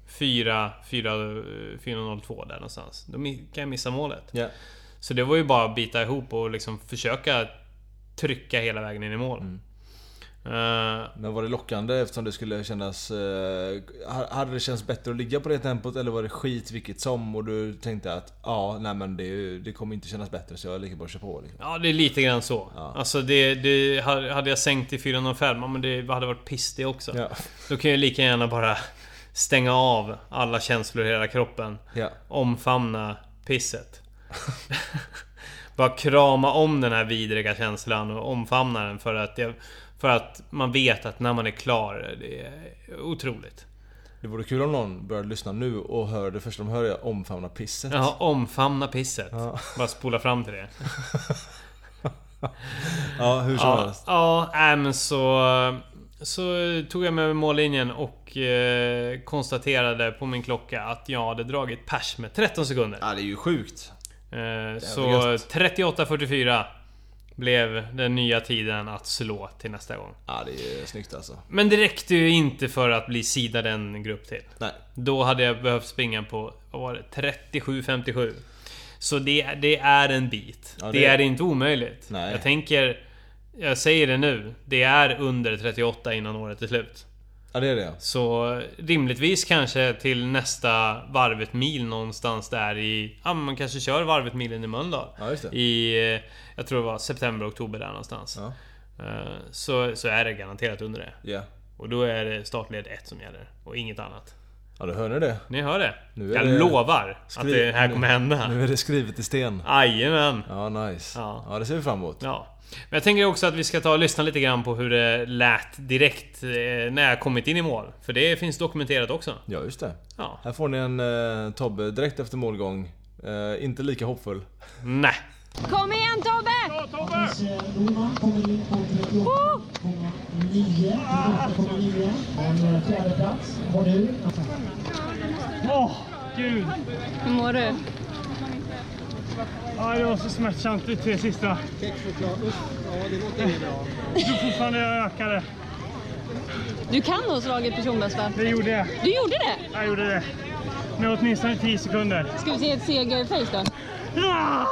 eh, 4, 4, 4.02 där någonstans. Då mi- kan jag missa målet.
Ja.
Så det var ju bara att bita ihop och liksom försöka trycka hela vägen in i mål.
Mm.
Eh,
Men var det lockande eftersom det skulle kännas... Eh, ha- hade det känts bättre att ligga på det tempot eller var det skit vilket som och du tänkte att ja, nej men det, är ju- det kommer inte kännas bättre så jag är lika bra att köra på. Liksom.
Ja, det är lite grann så.
Ja.
Alltså det, det... Hade jag sänkt till 4.05, ja, men det hade varit piss det också.
Ja.
Då kan jag lika gärna bara stänga av alla känslor i hela kroppen.
Ja.
Omfamna pisset. bara krama om den här vidriga känslan och omfamna den för att, det, för att man vet att när man är klar, det är otroligt.
Det vore kul om någon började lyssna nu och hör det första de hör är omfamna pisset.
Jaha, omfamna pisset. Bara spola fram till det.
Ja, hur som
Ja,
helst.
ja nej, men så... Så tog jag mig över mållinjen och eh, konstaterade på min klocka att jag hade dragit pers med 13 sekunder.
Ja, det är ju sjukt.
Eh, så
gött.
38.44 blev den nya tiden att slå till nästa gång.
Ja, det är ju snyggt alltså.
Men det räckte ju inte för att bli sidad en grupp till.
Nej.
Då hade jag behövt springa på, vad var det? 37.57. Så det, det är en bit.
Ja,
det...
det-
är inte omöjligt.
Nej.
Jag tänker... Jag säger det nu. Det är under 38 innan året är slut.
Ja, det är det.
Så rimligtvis kanske till nästa varvet mil någonstans där i... Ja, men man kanske kör varvet milen i Mölndal.
Ja, just det.
I... eh, Jag tror det var september, oktober där någonstans.
Ja.
Eh, Så, så är det garanterat under det.
Ja.
Och då är det startled 1 som gäller. Och inget annat.
Ja, då hör ni det.
Ni hör det.
Nu är
jag
det-
lovar att
Skri-
det här kommer hända.
Nu är det skrivet i sten.
Jajamän.
Ja, nice.
Ja.
Ja, det ser vi fram emot.
Ja. Men jag tänker också att vi ska ta och lyssna lite grann på hur det lät direkt eh, när jag kommit in i mål. För det finns dokumenterat också.
Ja, just det.
Ja.
Här får ni en eh, Tobbe direkt efter målgång. Eh, inte lika hoppfull.
Nej.
Kom igen Tobbe!
Roman kommer in på 38,9. 38,9. En fjärde plats. Har du?
Åh, gud!
Hur mår du?
Ja, det var så smärtsamt de tre sista. Kex choklad, usch. Ja, det låter inte bra. Jag tror fortfarande jag ökade.
Du kan ha slagit personbästa.
Det gjorde jag.
Du gjorde det!
Jag gjorde det. Med åtminstone 10 sekunder.
Ska vi se ett segerface då?
Ja!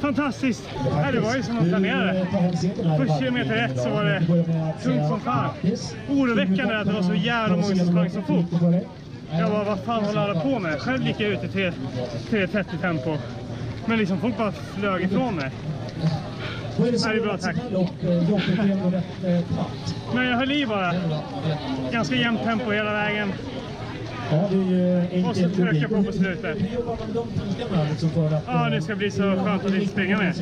Fantastiskt! Ja, det var ju som man planerade.
Först kilometer rätt så var det tungt som fan. Oroväckande att det var så jävla många som sprang så fort.
Jag bara, vad fan håller alla på med? Själv gick jag ut i tre- 3.30 tempo. Men liksom folk bara flög ifrån mig.
Ja, det är bra tack.
Men jag höll i bara. Ganska jämnt tempo hela vägen.
Och så trycker jag på på slutet. Ja, det ska bli så skönt att inte springa mer.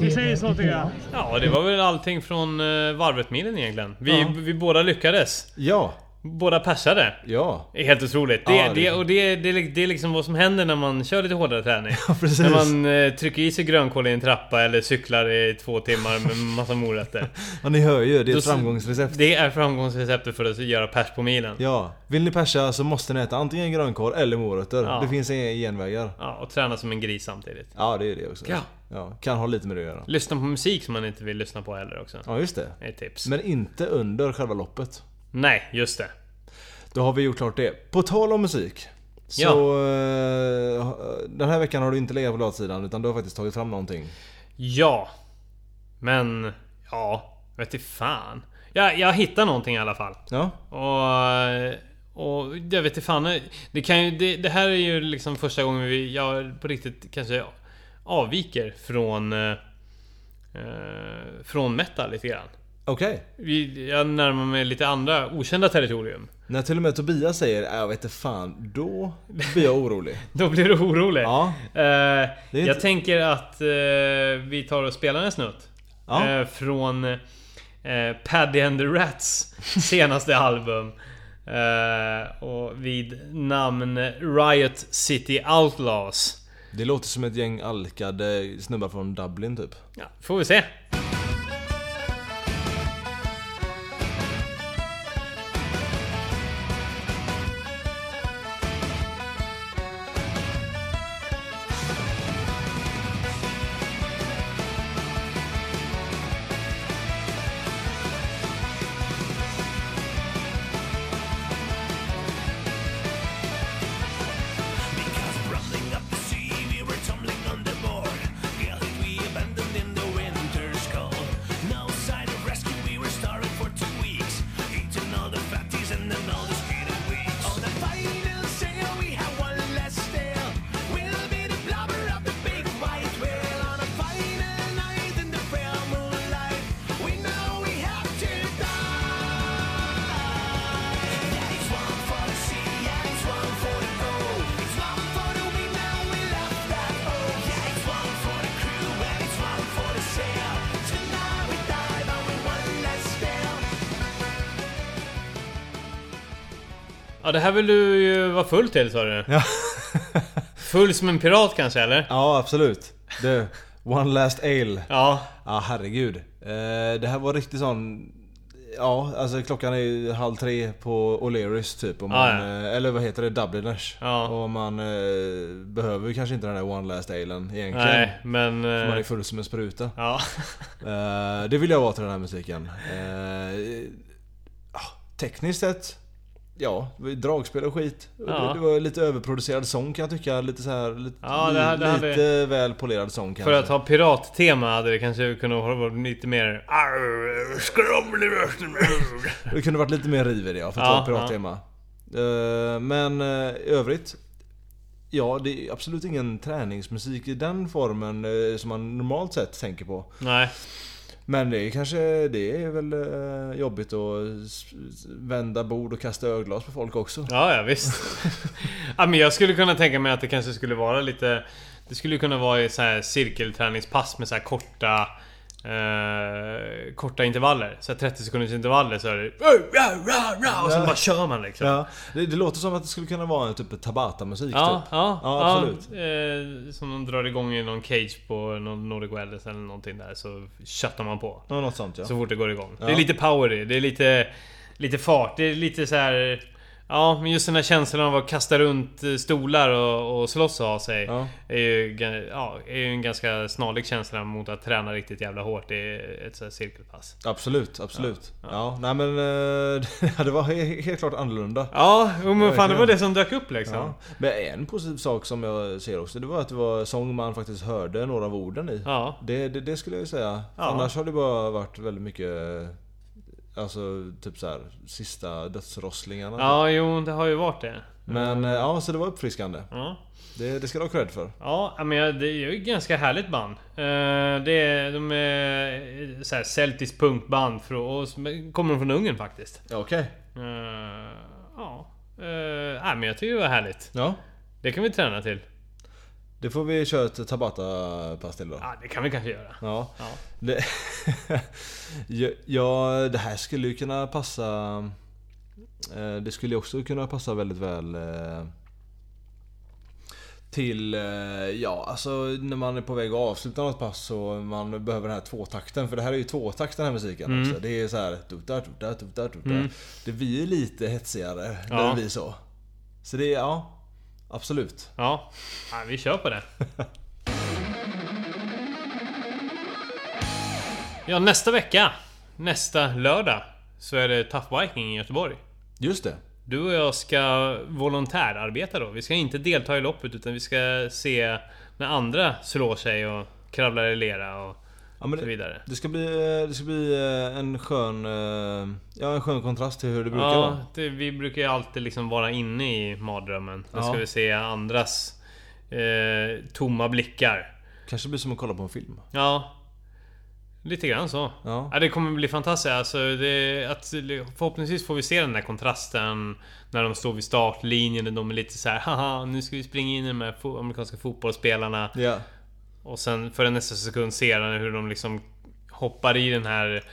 Vi
é
säger så tycker jag.
Ja, det var väl allting från eh, varvet-milen egentligen. Vi,
Ja.
vi båda lyckades.
Ja,
Båda persade.
ja.
Det är helt otroligt. Det,
Ja, liksom. det-
det, och det, det, det är liksom vad som händer när man kör lite hårdare träning.
precis.
När man eh, trycker i sig grönkål i en trappa eller cyklar i två timmar med massa morötter.
Ja, ni hör ju. Det är ett
Då-
framgångsrecept.
Det är framgångsreceptet för att göra pers på milen. Ja.
Ja, vill ni persa så måste ni äta antingen grönkål eller morötter.
Ja.
Det finns inga genvägar.
och träna som en gris samtidigt.
Ja, det är det också.
Ja.
Kan ha lite med det att göra.
Lyssna på musik som man inte vill lyssna på heller också.
Ja, just det.
Det är ett tips.
Men inte under själva loppet.
Nej, just det.
Då har vi gjort klart det. På tal om musik. Så
Ja.
eh, den här veckan har du inte legat på latsidan utan du har faktiskt tagit fram någonting.
Ja. Men... Ja. Vet du fan. Jag, jag hittar någonting i alla fall.
Ja,
Och... Och jag vet inte fan. Det, kan ju, det, det här är ju liksom första gången vi, jag på riktigt kanske avviker från... eh, Eh, från metal lite grann.
okej.
Vi, jag närmar mig lite andra okända territorium.
När till och med Tobias säger "Äh, jag vet inte fan, då blir jag orolig.
Då blir du orolig.
Ja.
Eh, jag
inte-
tänker att eh, vi tar och spelar en snutt.
Ja.
Eh, från eh, Paddy and the Rats senaste album. Eh, och vid namn Riot City Outlaws.
Det låter som ett gäng alkade snubbar från Dublin typ.
Ja, får vi se.
Because rumbling up the sea, we were tumbling on the board. Yelling, we abandoned in the winter's cold.
Ja, det här vill du ju vara full till sa du.
Ja,
Full som en pirat kanske eller?
ja absolut. Du, one last ale.
Ja.
Ja herregud. Eh, det här var riktigt sån... Ja, alltså klockan är ju halv tre på O'Learys typ. Om
Ah,
man, eh, Eller vad heter det? Dubliners.
Ja.
Och man eh, behöver ju kanske inte den där One Last Alen egentligen.
Nej, men...
För man är
eh,
full som en spruta.
Ja.
Eh, det vill jag vara till den här musiken. Eh, ah, tekniskt sett, ja, det var ju dragspel och skit. Och
Ja.
Det, det var lite överproducerad sång kan jag tycka. Lite så här, lite,
Ja, det här- det här
lite väl polerad sång kanske.
För att ha pirattema hade det kanske kunnat vara lite mer... Arr, skrovlig rösten.
Det kunde varit lite mer riv i det ja, för att
Ja,
ta pirattema. Eh, Men eh, i övrigt. Ja, det är absolut ingen träningsmusik i den formen eh, som man normalt sett tänker på.
Nej.
Men det är kanske, det är väl eh, jobbigt att s- s- vända bord och kasta ölglas på folk också.
Ja, ja visst. ja, men jag skulle kunna tänka mig att det kanske skulle vara lite... Det skulle kunna vara i så här cirkelträningspass med så här korta... Eh, korta intervaller. Så här 30 sekunders intervaller så är det... Och så bara kör man liksom.
Ja, det, det låter som att det skulle kunna vara en typ av Tabata-musik
Ja,
typ.
ja,
Ja, absolut.
Eh, som de drar igång i någon cage på någon Nordic Wellness eller någonting där så köttar man på.
Ja, något sånt ja.
Så fort det går igång. Det
Ja.
är lite power i, det är lite, lite fart, det är lite så här. Ja, men just den här känslan av att kasta runt eh, stolar och, och slåss och ha sig.
Ja.
Är, ju, ga- ja, är ju en ganska snarlik känsla mot att träna riktigt jävla hårt i ett så här cirkelpass.
Absolut, absolut. Ja, nej men eh, det var he- helt klart annorlunda.
Ja, jo, men fan det
Verkligen.
var det som dök upp liksom.
Ja. Men en positiv sak som jag ser också, det var att det var sång man faktiskt hörde några av orden i.
Ja.
Det, det, det skulle jag ju säga.
Ja.
Annars har det bara varit väldigt mycket Alltså typ så här sista dödsrosslingarna.
Ja, jo det har ju varit det.
Men eh, ja, så det var uppfriskande.
Ja.
Det, det ska du ha cred för.
Ja, men jag- det är ju ett ganska härligt band. Eh, Det är, de är eh, så här celtisk punkband frå- och som- kommer från Ungern faktiskt.
Ja, okej.
Eh, Ja, Eh, nej, men jag tycker det var härligt.
Ja.
Det kan vi träna till.
Det får vi köra ett Tabata-pass till då.
Ja, det kan vi kanske göra.
Ja.
Ja.
Det, ja, ja, det här skulle ju kunna passa... eh, Det skulle ju också kunna passa väldigt väl eh, till, eh, ja alltså när man är på väg att avsluta något pass så man behöver den här tvåtakten. För det här är ju tvåtakt den här musiken
Mm.
också. Det är så här... Tuta, tuta, tuta, tuta. Det blir ju lite hetsigare när
Ja.
det blir så. Så det är, ja. Absolut.
Ja, ja vi kör på det. Ja, nästa vecka, nästa lördag, så är det Tough Viking i Göteborg.
Just det.
Du och jag ska volontärarbeta då. Vi ska inte delta i loppet utan vi ska se när andra slår sig och kravlar i lera och
Ja, men
så
det,
vidare.
Det ska bli, eh, det ska bli eh, en skön, eh, ja, en skön kontrast till hur det brukar vara.
Ja, det, vi brukar ju alltid liksom vara inne i mardrömmen. Nu
Ja.
ska vi se andras eh, tomma blickar.
Kanske blir som att kolla på en film.
Ja, lite grann så.
Ja.
det kommer bli fantastiskt. Alltså, det, att, förhoppningsvis får vi se den där kontrasten när de står vid startlinjen och de är lite så här haha nu ska vi springa in i de här fo- amerikanska fotbollsspelarna.
Ja.
Och sen för en nästa sekund ser han hur de liksom hoppar i den här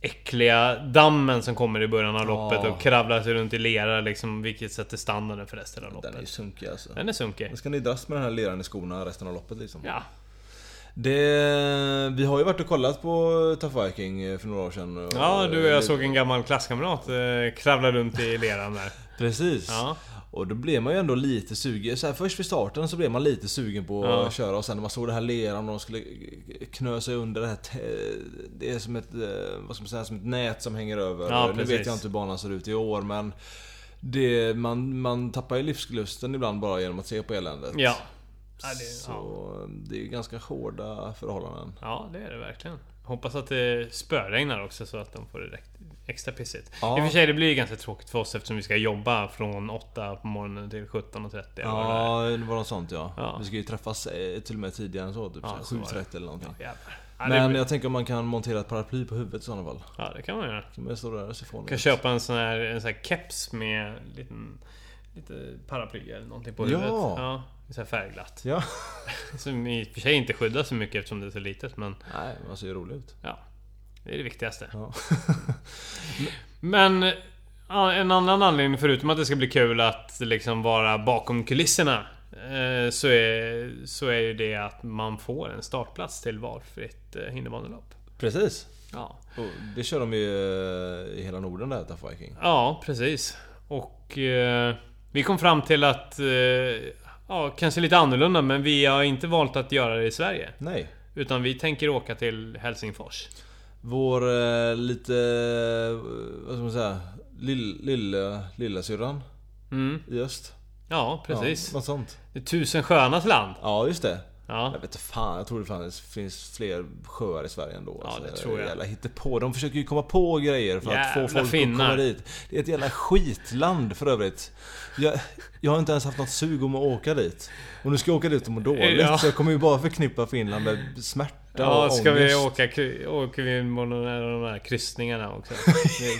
äckliga dammen som kommer i början av loppet och kravlar sig runt i lera liksom, vilket sätter standarden för resten av loppet.
Den är ju sunkig alltså.
Den är sunkig.
Då ska ni dras med den här leran i skorna resten av loppet liksom.
Ja.
Det, vi har ju varit och kollat på Tough Viking eh, för några år sedan. och-
ja, du och jag såg en gammal klasskamrat eh, kravla runt i leran där.
Precis.
Ja.
Och då blev man ju ändå lite sugen. Så här, först vid starten så blev man lite sugen på
Ja.
att köra och sen när man såg det här leran och de skulle knö sig under det här... te- Det är som ett, eh, vad ska man säga, som ett nät som hänger över.
Ja,
nu
precis.
vet jag inte hur banan ser ut i år men... Det, man, man tappar ju livslusten ibland bara genom att se på eländet.
Ja. Ja det, ja.
Så det är ju ganska hårda förhållanden.
ja, det är det verkligen. Hoppas att det spöregnar också så att de får det direkt, extra pissigt.
Ja.
I och för sig, det blir ju ganska tråkigt för oss eftersom vi ska jobba från 8 på morgonen till 17.30. eller vad det är.
Ja, det var något sånt ja.
Ja.
Vi ska ju träffas eh, till och med tidigare än så. Typ
Ja,
så här
så var det.
7.30 eller någonting.
Jävlar. Ja, det,
Men eh,
blir-
jag tänker om man kan montera ett paraply på huvudet i sådana fall.
ja, det kan man göra.
Kan man stå där och se fånig
kan
ut.
köpa en sån här, en sån här keps med liten, lite paraply eller någonting på
Ja.
huvudet. Ja. Så här färgglatt.
Ja.
Som i och för sig inte skyddar så mycket eftersom det är så litet men
Nej, man ser ju rolig ut.
ja. Det är det viktigaste.
Ja.
Men a- en annan anledning förutom att det ska bli kul att liksom vara bakom kulisserna. eh, Så är, så är ju det att man får en startplats till valfritt eh, hinderbanelopp.
Precis.
Ja.
Och det kör de ju eh, i hela Norden där, Tough Viking.
ja, precis. Och eh, vi kom fram till att... eh, Ja, kanske lite annorlunda men vi har inte valt att göra det i Sverige.
Nej.
Utan vi tänker åka till Helsingfors.
Vår eh, lite... eh, Vad ska man säga? Lill, lilla, lilla syrran
Mm.
i öst.
Ja, precis.
Ja, något sånt.
Det är Tusen sjöarnas land.
Ja, just det.
Ja.
Jag vet inte fan, jag tror det fanns- finns fler sjöar i Sverige ändå. Alltså,
Ja, det tror jag.
Jävla på. De försöker ju komma på grejer för att
Jävla
få folk
finnar.
att komma dit. Det är ett jävla skitland för övrigt. Jag, jag har inte ens haft något sug om att åka dit. Och nu ska jag åka dit och må dåligt.
Ja.
Så jag kommer ju bara förknippa Finland med smärta
Ja,
och
ska vi
ångest.
åka, kry- åker vi på de här, de här kryssningarna också? Vi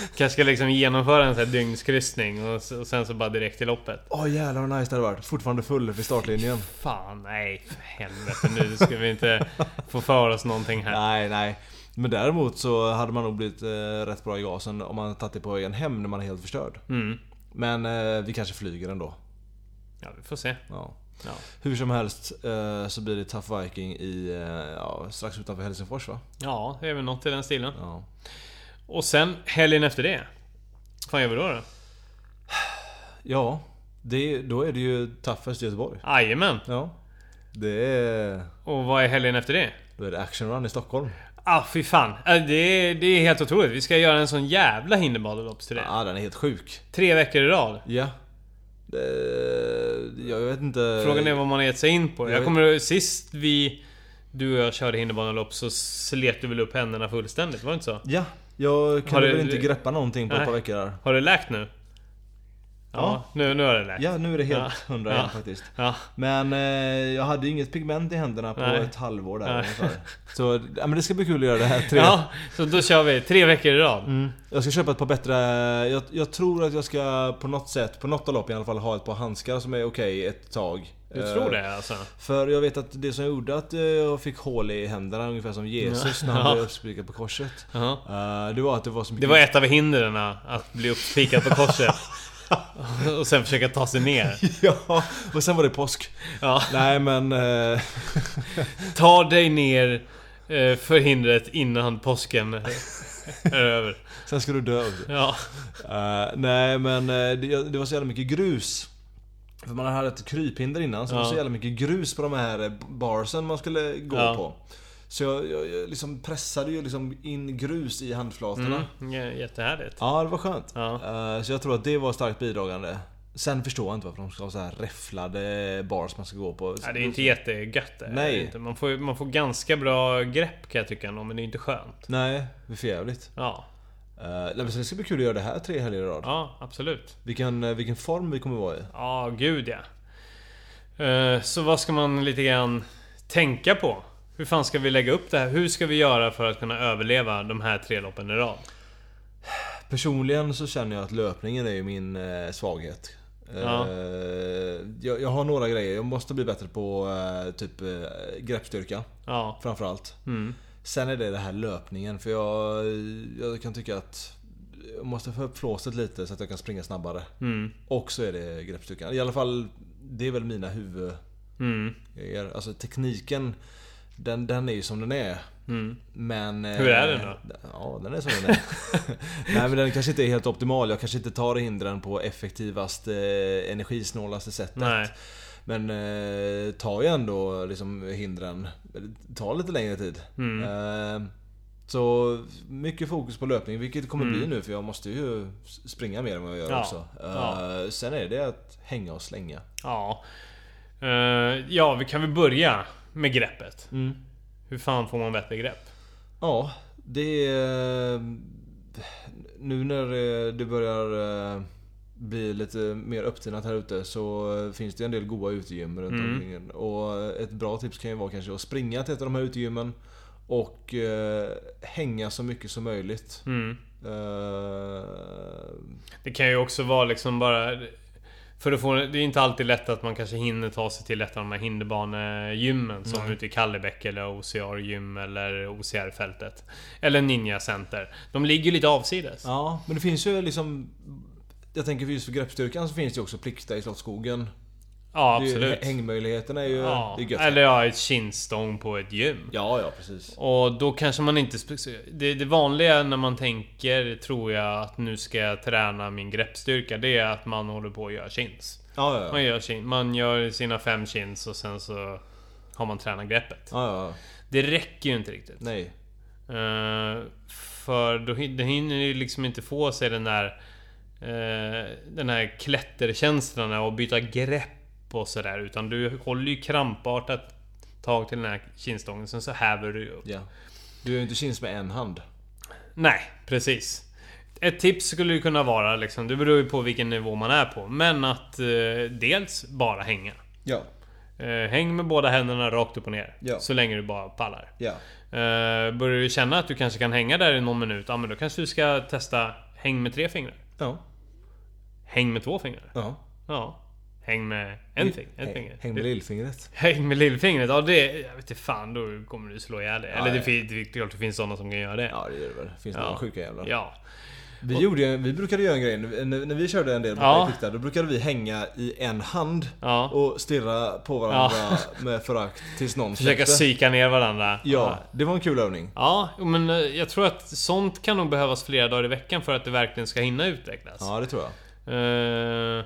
Kanske ska liksom genomföra en sån här dygnskryssning och, s- och sen så bara direkt till loppet.
Åh jävlar vad nice det hade varit. Fortfarande full vid startlinjen.
Fan, nej för helvete nu ska vi inte få för oss någonting här.
Nej, nej. Men däremot så hade man nog blivit eh, rätt bra i gasen om man tagit det på vägen hem när man är helt förstörd.
Mm.
Men eh, vi kanske flyger ändå.
Ja, vi får se.
Ja.
Ja.
Hur som helst eh, så blir det Tough Viking i, eh, ja, strax utanför Helsingfors va?
Ja, det är väl något i den stilen.
Ja.
Och sen helgen efter det. fan gör vi då då?
Ja, det, då är det ju Toughest i Göteborg.
Jajamän!
Ja. Det är,
Och vad är helgen efter det?
då är det Action Run i Stockholm.
Ah fy fan! Äh, Det är, det är helt otroligt. Vi ska göra en sån jävla hinderbaneloppsturné.
Ja, den är helt sjuk.
Tre veckor i rad.
Ja. Det- Jag vet inte...
Frågan är vad man har gett sig in på. Jag
Jag-
kommer sist vi... Du och jag körde hinderbanelopp så slet du väl upp händerna fullständigt? Var det inte så?
Ja, jag
Har
kunde
du-
väl inte greppa någonting på
Nej.
ett par veckor där.
Har det läkt nu? Ja,
Ja.
nu, nu har det läkt.
Ja, nu är det helt
Ja.
hundra
Ja.
igen faktiskt.
Ja.
Men eh, jag hade ju inget pigment i händerna på
Nej.
ett halvår där
Nej.
ungefär. Så ja, men det ska bli kul att göra det här tre,
ja, så då kör vi tre veckor i rad.
Jag ska köpa ett par bättre... Jag, jag tror att jag ska på något sätt, på något av lopp i alla fall, ha ett par handskar som är okej ett tag.
Du
Eh,
tror det alltså?
För jag vet att det som gjorde att eh, jag fick hål i händerna, ungefär som Jesus när han
Ja.
blev uppspikad på korset.
Ja.
eh, Det var att det var så
Det
mycket...
var ett av hindren att bli uppspikad på korset. och sen försöka ta sig ner.
ja, och sen var det påsk.
Ja.
Nej men... eh,
Ta dig ner eh, för hindret innan påsken är över.
sen ska du dö också.
Ja.
Eh, nej men eh, det, det var så jävla mycket grus. För man hade ett kryphinder innan så det
Ja.
var så jävla mycket grus på de här eh, barsen man skulle gå
Ja.
på. Så jag, jag, jag liksom pressade ju liksom in grus i handflatorna.
Mm, j- jättehärligt.
Ja, det var skönt.
Ja.
Eh, så jag tror att det var starkt bidragande. Sen förstår jag inte varför de ska ha så här räfflade bars man ska gå på.
Ja, det är ju inte jättegött det.
Nej.
Det är inte. Man, får, man får ganska bra grepp kan jag tycka ändå, men det är inte skönt.
Nej, det är för jävligt.
Ja,
Eh, nej, men så det ska bli kul att göra det här tre helger i rad.
ja absolut.
Vilken, eh, vilken form vi kommer vara i.
Ja, gud ja. Eh, Så vad ska man lite grann tänka på? Hur fan ska vi lägga upp det här? Hur ska vi göra för att kunna överleva de här tre loppen i rad?
Personligen så känner jag att löpningen är ju min eh, svaghet. Eh,
Ja.
jag, jag har några grejer. Jag måste bli bättre på eh, typ eh, greppstyrka
Ja.
framförallt.
Mm.
Sen är det det här löpningen för jag, jag kan tycka att jag måste få upp flåset lite så att jag kan springa snabbare.
Mm.
Och så är det greppstyrkan. I alla fall, det är väl mina huvudgrejer.
Mm.
Alltså tekniken, den, den är ju som den är.
Mm.
Men...
Hur är den
då? Ja, den är som den är. Nej men den kanske inte är helt optimal. Jag kanske inte tar hindren på effektivast, eh, energisnålaste sättet.
Nej.
Men eh, tar ju ändå liksom hindren. Det tar lite längre tid.
Mm.
Eh, så mycket fokus på löpning, vilket kommer bli nu för jag måste ju s- springa mer än vad jag gör
Mm. Ja.
också. Eh, Sen är det att hänga och slänga.
Ja. Eh, Ja, vi kan väl börja med greppet.
Mm.
Hur fan får man bättre grepp?
Ja, det är... Nu när eh, det börjar eh, bli lite mer upptinat här ute så eh, finns det en del goa utegym runt
Mm.
omkring. Och eh, ett bra tips kan ju vara kanske att springa till ett av de här utegymmen och eh, hänga så mycket som möjligt.
Mm.
Eh,
Det kan ju också vara liksom bara... För att få, det är inte alltid lätt att man kanske hinner ta sig till ett av de här hinderbanegymmen som ute i Kallebäck eller OCR gym eller OCR-fältet. Eller Ninja Center. De ligger ju lite avsides.
Ja, men det finns ju liksom... Jag tänker just för greppstyrkan så finns det ju också Plikta i Slottsskogen.
Ja,
Det är ju-
absolut.
Hängmöjligheterna är ju...
Ja.
Det är gött.
Eller ja, ett kinstång på ett gym.
Ja, ja precis.
Och då kanske man inte... spec- Det, det vanliga när man tänker, tror jag, att nu ska jag träna min greppstyrka. Det är att man håller på och gör chins.
Ja, ja,
Man
ja.
gör, chin, man gör sina fem chins och sen så har man tränat greppet.
ja, ja.
Det räcker ju inte riktigt.
Nej.
Eh, för då hin- det hinner ju liksom inte få sig den där... eh, den här klätterkänslan och byta grepp och sådär. Utan du håller ju krampartat tag till den här kinstången, sen så häver du upp.
Ja. Du är ju inte chins med en hand.
Nej, precis. Ett tips skulle ju kunna vara liksom, det beror ju på vilken nivå man är på, men att eh, dels bara hänga.
Ja.
Eh, häng med båda händerna rakt upp och ner.
Ja.
Så länge du bara pallar.
Ja.
Eh, börjar du känna att du kanske kan hänga där i någon minut, ja men då kanske du ska testa häng med tre fingrar.
Ja.
Häng med två fingrar.
Ja.
Ja. Häng med en fing, ett
Häng,
finger.
häng med lillfingret.
Häng med lillfingret? Ja det... Jag vet inte fan, då kommer du slå ihjäl dig. Eller det,
ja.
fin- det är klart det finns sådana som kan göra det.
Ja det gör det väl. Finns det några sjuka jävlar.
Ja.
Vi, gjorde, ju- vi brukade göra en grej, när, när vi körde en del på
Ja.
ja. Då brukade vi hänga i en hand
Ja.
och stirra på varandra med förakt tills någon
Försöka
släppte.
psyka ner varandra.
Ja, det var en kul övning.
Ja, jo, men eh, jag tror att sånt kan nog behövas flera dagar i veckan för att det verkligen ska hinna utvecklas.
Ja det tror jag.
Eh,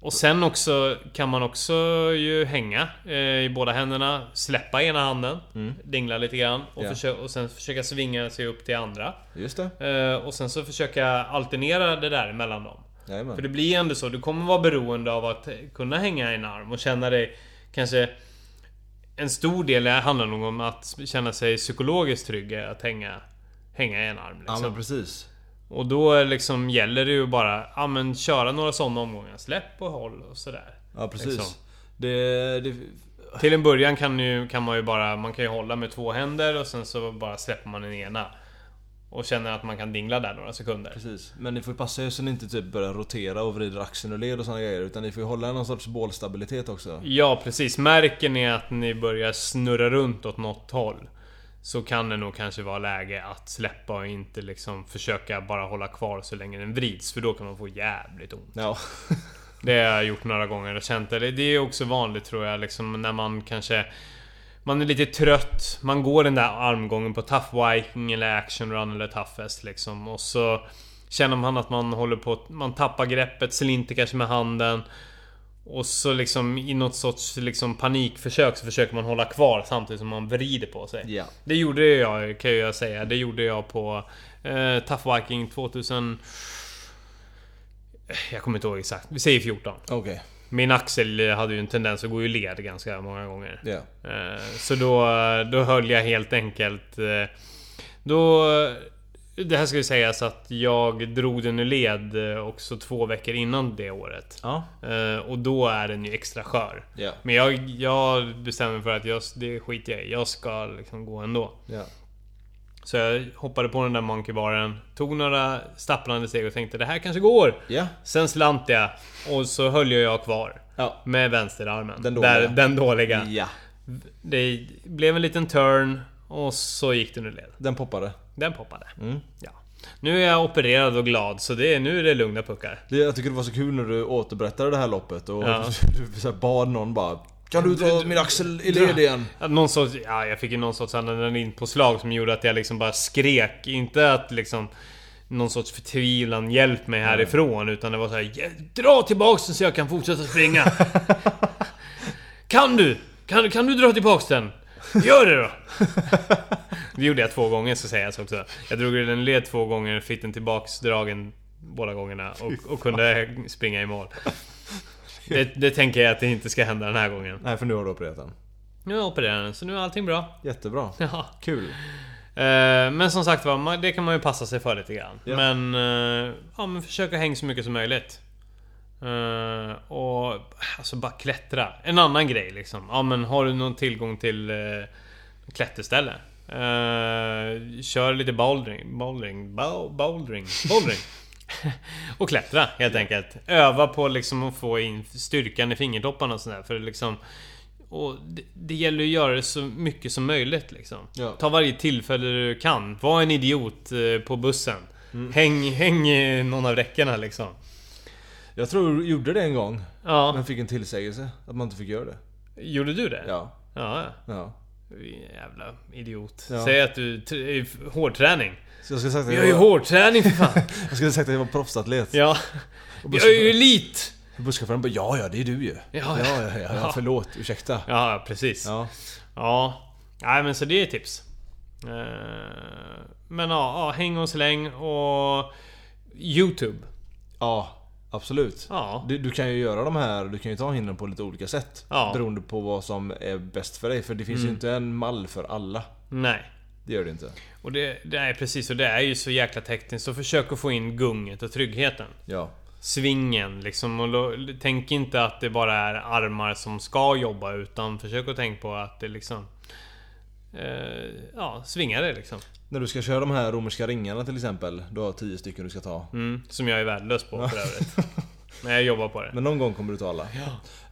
och sen också kan man också ju hänga eh, i båda händerna, släppa ena handen, dingla lite grann och,
Mm. Ja.
försö- och sen försöka svinga sig upp till andra.
Just det.
Eh, och sen så försöka alternera det där mellan dem.
Jajamän.
För det blir ju ändå så, du kommer vara beroende av att kunna hänga i en arm och känna dig kanske... En stor del handlar nog om att känna sig psykologiskt trygg i att hänga, hänga i en arm.
Ja
Liksom.
men precis.
och då är liksom gäller det ju bara ja, men köra några sådana omgångar. Släpp och håll och sådär.
Ja precis.
Liksom.
Det, det,
Till en början kan, ju, kan man ju bara man kan ju hålla med två händer och sen så bara släpper man den ena. Och känner att man kan dingla där några sekunder.
precis. Men ni får ju passa er så ni inte typ börjar rotera och vrider axeln och led och såna grejer. Utan ni får ju hålla någon sorts bålstabilitet också.
Ja precis, märker ni att ni börjar snurra runt åt något håll så kan det nog kanske vara läge att släppa och inte liksom försöka bara hålla kvar så länge den vrids för då kan man få jävligt ont.
Ja.
Det har jag gjort några gånger och känt det. Det är också vanligt tror jag liksom när man kanske man är lite trött, man går den där armgången på Tough Viking eller Action Run eller Toughest liksom och så känner man att man håller på, man tappar greppet, slinter kanske med handen och så liksom i något sorts liksom panikförsök så försöker man hålla kvar samtidigt som man vrider på sig.
Ja.
Det gjorde jag kan jag säga. Det gjorde jag på eh, Tough Viking 2000... Jag kommer inte ihåg exakt. Vi säger 14.
Okej.
Min axel eh, hade ju en tendens att gå i led ganska många gånger.
Ja.
Eh, Så då, eh, då höll jag helt enkelt... eh, Då... eh, Det här ska ju sägas att jag drog den ur led eh, också två veckor innan det året.
Ja.
Eh, Och då är den ju extra skör.
Ja.
Men jag, jag bestämde mig för att jag, det skiter jag i. Jag ska liksom gå ändå.
Ja.
Så jag hoppade på den där monkeybaren, tog några stapplande steg och tänkte det här kanske går.
Ja.
Sen slant jag och så höll jag kvar.
Ja.
Med vänsterarmen.
Den dåliga.
Där, den dåliga.
Ja.
Det blev en liten turn och så gick den ur led.
Den poppade.
Den poppade.
Mm.
Ja. Nu är jag opererad och glad så det är, nu är det lugna puckar.
Det- Jag tycker det var så kul när du återberättade det här loppet och
Ja.
du så här bad någon bara Kan du dra min axel i led igen?
Att Någon sorts, ja, jag fick ju någon sorts adrenalinpåslag som gjorde att jag liksom bara skrek. Inte att liksom någon sorts förtvivlan, hjälp mig härifrån. Utan det var så här, "Ja, dra tillbaks den så jag kan fortsätta springa. kan du? Kan, kan du dra tillbaks den? Gör det då! det gjorde jag två gånger så säger jag så också. Jag drog ur den led två gånger, fick den tillbaks dragen båda gångerna och, och kunde springa i mål. Det, det tänker jag att det inte ska hända den här gången.
Nej för nu har du opererat den.
Nu är opereraren, så nu är allting bra.
Jättebra.
Ja.
Kul.
Eh, Men som sagt var, man- det kan man ju passa sig för lite grann.
Ja.
Men, eh, ja, men försök att hänga så mycket som möjligt. Eh, Och alltså bara klättra. En annan grej liksom. Ja men har du någon tillgång till eh, klätterställe? Eh, kör lite bouldering, bouldering, bow- bouldering, bouldering. och klättra helt enkelt. Öva på liksom att få in styrkan i fingertopparna och sådär. För det liksom... Och det, det gäller att göra det så mycket som möjligt liksom.
Ja.
Ta varje tillfälle du kan. Var en idiot eh, på bussen.
Mm.
Häng, häng i någon av räckena liksom.
Jag tror jag gjorde det en gång.
Ja.
Men fick en tillsägelse att man inte fick göra det.
Gjorde du det?
Ja.
ja.
ja.
Jävla idiot.
Ja.
Säg att du tr- är f- hårdträning.
Så jag skulle sagt att
Jag är ju
jag,
hårdträning för fan.
jag skulle sagt att jag var proffsatlet.
ja. Jag är ju elit.
Busschauffören bara ja, ja det är du ju.
Ja.
ja, ja, ja, ja förlåt, ursäkta.
Ja, precis.
Ja.
Ja. Nej men så det är tips. Eh, Men ja, ja, häng och släng och... Youtube.
Ja, absolut.
Ja.
Du, du kan ju göra de här, du kan ju ta hindren på lite olika sätt.
Ja. Mm.
Beroende på vad som är bäst för dig. För det finns ju inte en mall för alla.
Nej.
Det gör det inte.
Och det, det är precis, och det är ju så jäkla tekniskt. Så försök att få in gunget och tryggheten.
Ja.
Svingen liksom. Och lo, tänk inte att det bara är armar som ska jobba utan försök att tänka på att det liksom... Eh, ja, svinga det liksom.
När du ska köra de här romerska ringarna till exempel. Du har tio stycken du ska ta.
Mm, som jag är värdelös på för övrigt. Men jag jobbar på det.
Men någon gång kommer du ta alla.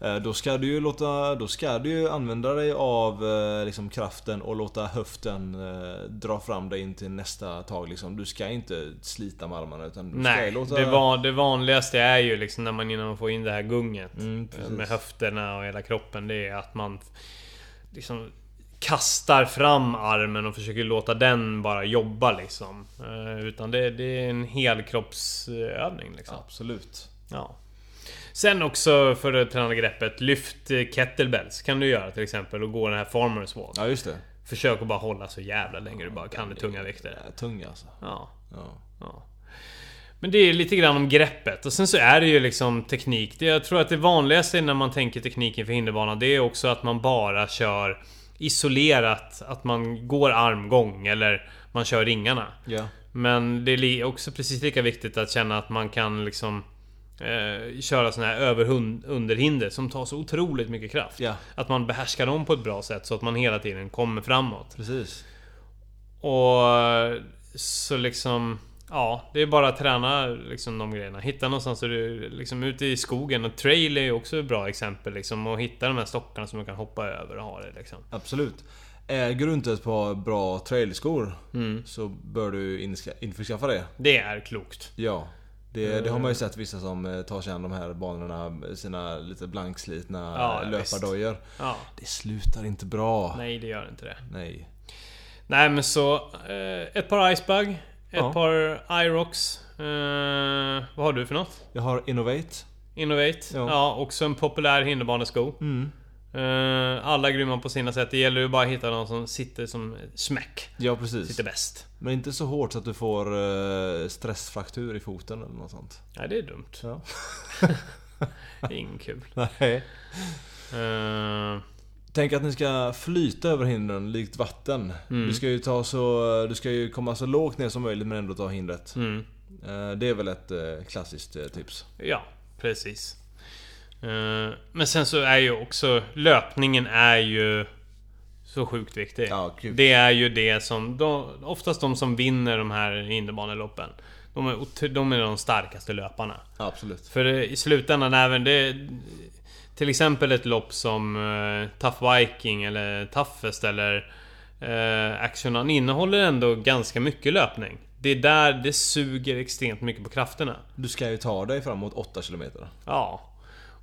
Eh, Då ska du ju låta, då ska du ju använda dig av eh, liksom kraften och låta höften eh, dra fram dig in till nästa tag liksom. Du ska inte slita med armarna utan du ska ju
Nej,
låta...
det, van, det vanligaste är ju liksom när man innan man får in det här gunget.
Mm,
eh,
precis.
med höfterna och hela kroppen. Det är att man liksom kastar fram armen och försöker låta den bara jobba liksom. Eh, Utan det, det är en helkroppsövning liksom.
Absolut.
Ja. Sen också för det tränade greppet, lyft eh, kettlebells kan du göra till exempel och gå den här farmers walk.
Ja just det.
Försök att bara hålla så jävla länge du bara kan i tunga vikter.
Eh, Tung alltså.
Ja,
Ja.
ja. Men det är lite grann om greppet och sen så är det ju liksom teknik. Det, jag tror att det vanligaste när man tänker tekniken för hinderbana det är också att man bara kör isolerat. Att man går armgång eller man kör ringarna.
Ja.
Men det är li- också precis lika viktigt att känna att man kan liksom eh, köra såna här över hun- underhinder som tar så otroligt mycket kraft.
Ja.
Att man behärskar dem på ett bra sätt så att man hela tiden kommer framåt.
Precis.
Och eh, så liksom... Ja, det är bara att träna liksom de grejerna. Hitta någonstans, så du, liksom ute i skogen. Och trail är ju också ett bra exempel liksom. Och hitta de här stockarna som man kan hoppa över och ha det liksom.
Absolut. Äger du inte ett par bra trailskor så bör du inska- införskaffa det.
Det är klokt.
Ja. Det, det har man ju sett vissa som eh, tar sig an de här banorna, sina lite blankslitna
Ja,
ja,
visst.
löpardojor.
Ja.
Det slutar inte bra. Nej.
Nej, det gör inte det. Nej men så, eh, ett par Icebug, ett
Ja.
par Irox. Eh, vad har du för något?
Jag har Innovate.
Innovate. Ja,
Ja. Mm.
också en populär hinderbanesko. Eh, alla grymma på sina sätt. Det gäller ju bara att hitta någon som sitter som smäck.
Ja precis.
Sitter bäst.
Men inte så hårt så att du får eh, stressfraktur i foten eller något sånt.
Nej, det är dumt.
Ja.
Det är ingen kul.
Nej.
Eh,
Tänk att ni ska flyta över hindren likt vatten. Du, ska ju ta så, du ska ju komma så lågt ner som möjligt men ändå ta hindret.
mm.
Eh, Det är väl ett eh, klassiskt eh, tips.
Ja, precis. Eh, men sen så är ju också löpningen är ju så sjukt viktig.
Ja, gud.
det är ju det som... De, oftast de som vinner de här hinderbaneloppen. De är, otro- de är de starkaste löparna.
Absolut.
För eh, i slutändan även det... Till exempel ett lopp som eh, Tough Viking eller Toughest eller eh, Action Han innehåller ändå ganska mycket löpning. Det är där det suger extremt mycket på krafterna.
Du ska ju ta dig framåt 8 km.
Ja.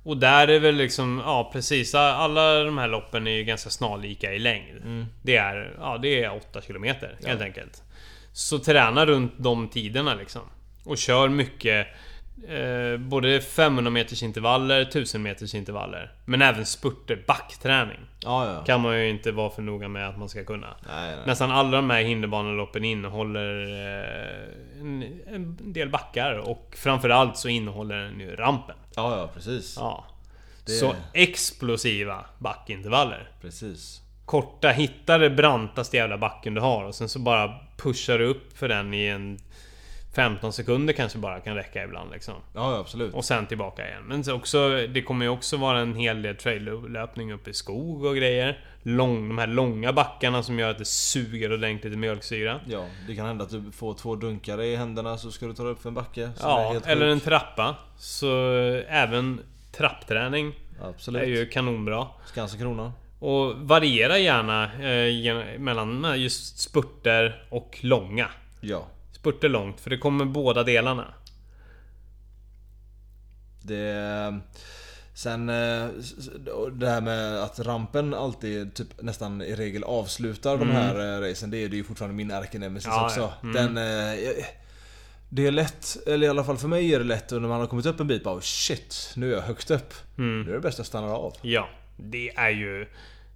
Och där är väl liksom, ja precis. Alla de här loppen är ju ganska snarlika i längd. Det är, ja det är 8 km helt enkelt. Så träna runt de tiderna liksom. Och kör mycket eh, både 500 meters intervaller, 1000 meters intervaller. Men även spurter, backträning.
Ja, ja.
Kan man ju inte vara för noga med att man ska kunna.
Nej, nej.
Nästan alla de här hinderbaneloppen innehåller eh, en, en del backar och framförallt så innehåller den ju rampen.
Ja, ja, precis.
Ja.
Det-
Så explosiva backintervaller.
Precis.
Korta, hitta det brantaste jävla backen du har och sen så bara pushar du upp för den i en 15 sekunder kanske bara kan räcka ibland liksom.
Ja, ja, absolut.
Och sen tillbaka igen. Men så också, det kommer ju också vara en hel del traillöpning uppe i skog och grejer. Lång, de här långa backarna som gör att det suger ordentligt i mjölksyra.
Ja, det kan hända att du får två dunkar i händerna så ska du ta dig upp för en backe. som är
Ja,
helt
eller
sjuk.
en trappa. Så eh, även trappträning är
Absolut.
ju kanonbra.
Skansen Krona.
Och variera gärna eh, gen- mellan just spurter och långa.
Ja.
Spurter långt, för det kommer båda delarna.
Det... Sen eh, s- s- och det här med att rampen alltid typ nästan i regel avslutar de här eh, racen. Det är det ju fortfarande min ärkenemesis
Mm. Ja,
också.
ja. Mm.
Den... eh, jag- Det är lätt, eller i alla fall för mig är det lätt när man har kommit upp en bit bara shit, nu är jag högt upp.
Mm.
Nu är det bäst jag stannar av.
Ja, det är ju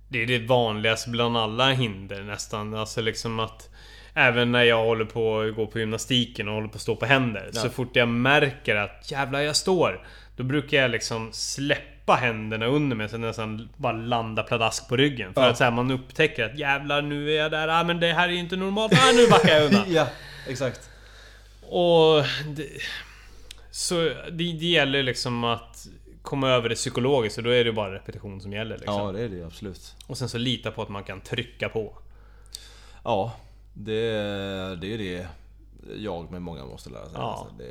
det, är det vanligaste bland alla hinder nästan. Alltså liksom att Även när jag håller på att gå på gymnastiken och håller på att stå på händer. Så fort jag märker att jävlar jag står. Då brukar jag liksom släppa händerna under mig så att jag nästan bara landa pladask på ryggen. För
Ja.
att så här, man upptäcker att jävlar nu är jag där. Ah, men det här är ju inte normalt. Ah, nu backar jag undan.
Ja, exakt.
Och... Det, så det, det gäller liksom att komma över det psykologiskt och då är det bara repetition som gäller. Liksom.
Ja, det är det ju absolut.
Och sen så lita på att man kan trycka på.
Ja, det, det är ju det jag med många måste lära sig.
Ja.
Alltså, det,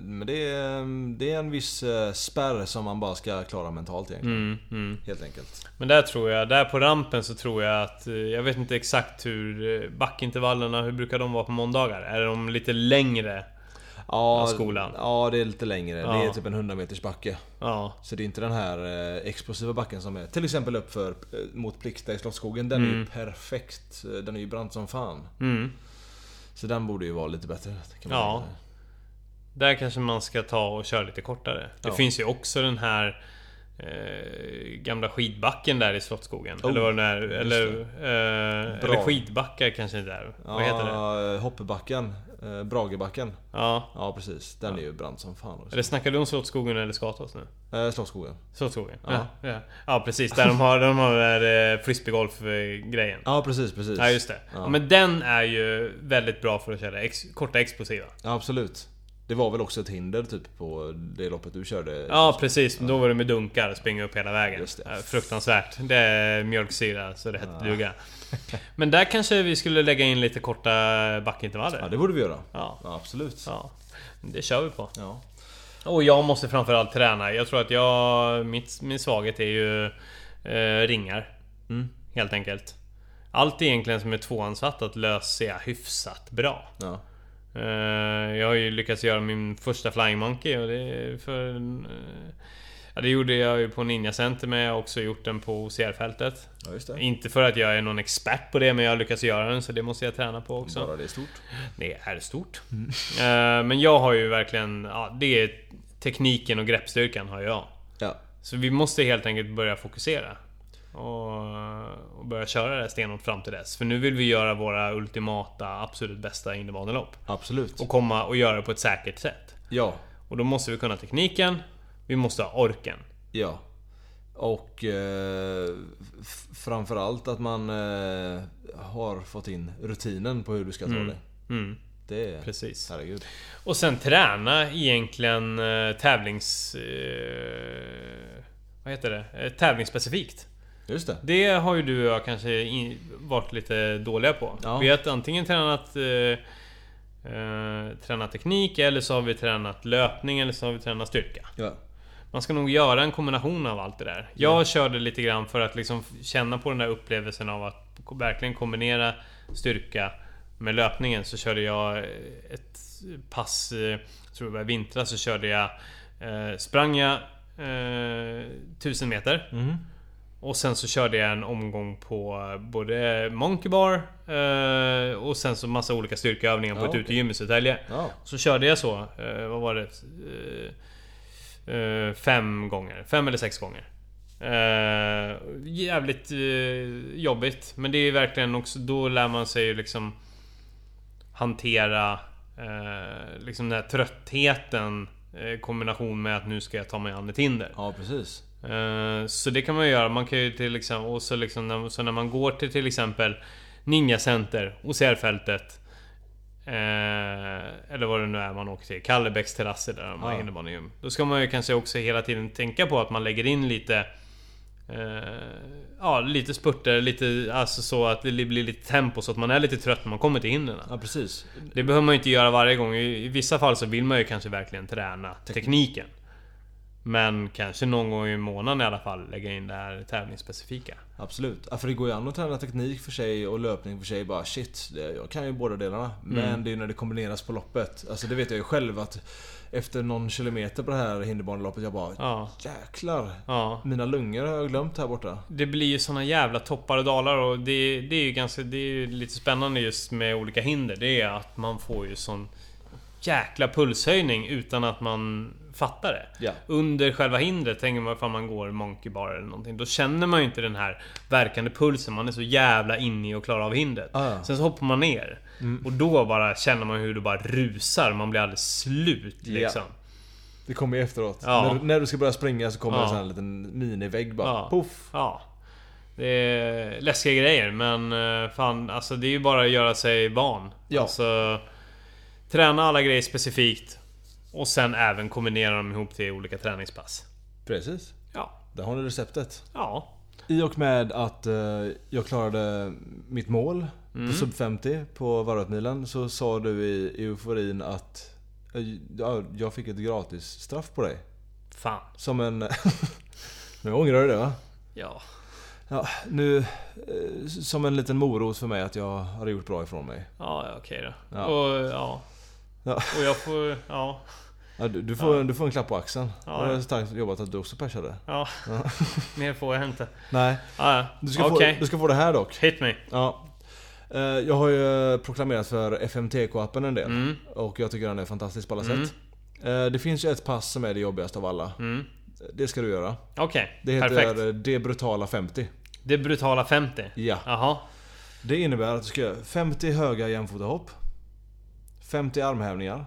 men det, är- det är en viss eh, spärr som man bara ska klara mentalt egentligen.
Mm,
Helt enkelt.
Men där tror jag, där på rampen så tror jag att... eh, Jag vet inte exakt hur eh, backintervallerna, hur brukar de vara på måndagar? Är de lite längre?
Ja,
skolan.
Ja, det är lite längre. Det är
Ja.
typ en 100 meters backe.
Ja.
Så det är inte den här eh, explosiva backen som är till exempel uppför eh, mot Plikta i Slottsskogen. Den är ju perfekt. Eh, Den är ju brant som fan.
Mm.
Så den borde ju vara lite bättre. Kan man
Ja.
säga.
Där kanske man ska ta och köra lite kortare. Det
Ja.
finns ju också den här... Eh, gamla skidbacken där i Slottsskogen.
Oh,
eller vad den är.
just
Eller, eh, eller
Bra.
skidbackar kanske inte är. Vad heter det?
det? Hoppebacken. Eh, Bragebacken.
Ja.
Ja precis, den är ju brant som fan också.
Eller snackar du om Slottsskogen eller Skatås nu?
Eh, Slottsskogen.
Slottsskogen?
Ja.
Ja. Ja, ja precis, där de har, de har den där eh, frisbeegolf-grejen.
Ja precis, precis.
Ja just det.
Ja.
Ja. Men den är ju väldigt bra för att köra ex- korta explosiva.
Ja, absolut. Det var väl också ett hinder typ på det loppet du körde?
Ja precis, då var det med dunkar och springa upp hela vägen.
Just det.
Ja, Fruktansvärt. Det är mjölksyra så det hette duga. Men där kanske vi skulle lägga in lite korta backintervaller.
Ja det borde vi göra.
Ja.
Ja, absolut. Ja.
Ja, det kör vi på. Och jag måste framförallt träna. Jag tror att jag... Mitt, min svaghet är ju eh, ringar.
Mm.
Helt enkelt. Allt egentligen som är tvåansfattat löser jag hyfsat bra.
Ja.
Eh, jag har ju lyckats göra min första Flying Monkey och det är för... en, eh, ja, det gjorde jag ju på Ninja Center men jag har också gjort den på OCR-fältet.
ja just det.
Inte för att jag är någon expert på det men jag har lyckats göra den så det måste jag träna på också.
Bara det är stort.
Det är stort. Eh, men jag har ju verkligen... Ja, det är tekniken och greppstyrkan har jag.
Ja.
Så vi måste helt enkelt börja fokusera. Och, och börja köra det här stenhårt fram till dess. För nu vill vi göra våra ultimata, absolut bästa innebandylopp.
Absolut.
Och komma och göra det på ett säkert sätt.
Ja.
Och då måste vi kunna tekniken. Vi måste ha orken.
Ja. Och eh, f- framförallt att man eh, har fått in rutinen på hur du ska ta det.
Mm,
Det är...
precis.
Herregud.
Och sen träna egentligen eh, tävlings... Eh, vad heter det? Eh, tävlingsspecifikt.
Just det.
Det har ju du och jag kanske in, varit lite dåliga på.
Ja.
Vi har antingen tränat, eh, eh, tränat teknik eller så har vi tränat löpning eller så har vi tränat styrka.
Ja.
Man ska nog göra en kombination av allt det där. Jag körde lite grann för att liksom känna på den där upplevelsen av att verkligen kombinera styrka med löpningen. Så körde jag eh, ett pass, eh, jag tror det var i vintras, så körde jag... Eh, sprang jag eh, 1000 meter.
Mm.
Och sen så körde jag en omgång på både Monkey Bar eh, och sen så massa olika styrkeövningar på
Ja,
ett
okej.
utegym i Södertälje.
Ja.
Så körde jag så, eh, vad var det? Eh, eh, fem gånger. Fem eller sex gånger. Eh, jävligt eh, jobbigt. Men det är verkligen också, då lär man sig ju liksom hantera eh, liksom den här tröttheten eh, i kombination med att nu ska jag ta mig an ett hinder.
Ja precis.
Eh, Så det kan man ju göra. Man kan ju till exempel, och så, liksom, när- så när man går till till exempel Ninja Center, OCR-fältet Eh, eller vad det nu är man åker till. Kallebäcks terrasser där man
Ja.
har innebandygym. Då ska man ju kanske också hela tiden tänka på att man lägger in lite... Eh, ja, lite spurter, lite... Alltså så att det blir lite tempo så att man är lite trött när man kommer till hindren.
Ja precis.
Det behöver man ju inte göra varje gång. I i vissa fall så vill man ju kanske verkligen träna tekniken. Men kanske någon gång i månaden i alla fall lägga in det här tävlingsspecifika.
Absolut. Ja, för det går ju an att träna teknik för sig och löpning för sig. Bara shit, det- jag kan ju båda delarna. Men det är ju när det kombineras på loppet. Alltså det vet jag ju själv att efter någon kilometer på det här hinderbaneloppet jag bara
Ja.
jäklar.
Ja.
Mina lungor har jag glömt här borta.
Det blir ju såna jävla toppar och dalar och det, det är ju ganska... Det är ju lite spännande just med olika hinder. Det är att man får ju sån jäkla pulshöjning utan att man fattar det.
Ja.
Under själva hindret, tänker man ifall man går monkey bar eller någonting. Då känner man ju inte den här verkande pulsen. Man är så jävla inne i att klara av hindret.
Ja, Ah, ja. Mm.
Sen så hoppar man ner. Och då bara känner man hur det bara rusar. Man blir alldeles slut
Ja.
liksom.
Det kommer ju efteråt.
Ja.
När, när du ska börja springa så kommer
Ja.
en sån här liten minivägg bara.
Ja.
Poff!
Ja. Det är läskiga grejer men eh, fan alltså det är ju bara att göra sig van.
Ja.
Alltså, träna alla grejer specifikt. Och sen även kombinera dem ihop till olika träningspass.
Precis.
Ja.
Där har ni receptet.
Ja.
I och med att eh, jag klarade mitt mål på sub 50 på Varvatmilen så sa du i euforin att eh, ja, jag fick ett gratis straff på dig.
Fan.
Som en... nu ångrar du det va?
Ja.
Ja, nu, eh, som en liten morot för mig att jag hade gjort bra ifrån mig.
Ja, ja, okej då.
Ja.
Och ja.
Ja.
Och jag får... Ja.
Ja, du, du, får, du får en klapp på axeln.
Ja,
det var
ja.
starkt jobbat att du också persade.
Ja. Mer får jag inte.
Nej,
Ja,
du
ja.
ska,
Okej.
få, du ska få det här dock.
Hit me.
Ja. Eh, Jag har ju proklamerat för FMTK-appen en del. Och jag tycker den är fantastisk på alla sätt. Eh, Det finns ju ett pass som är det jobbigaste av alla. Det ska du göra.
Okej.
Det heter
Perfekt.
Det brutala 50.
Det brutala 50.
Ja.
Jaha.
Det innebär att du ska göra 50 höga jämfotahopp. 50 armhävningar.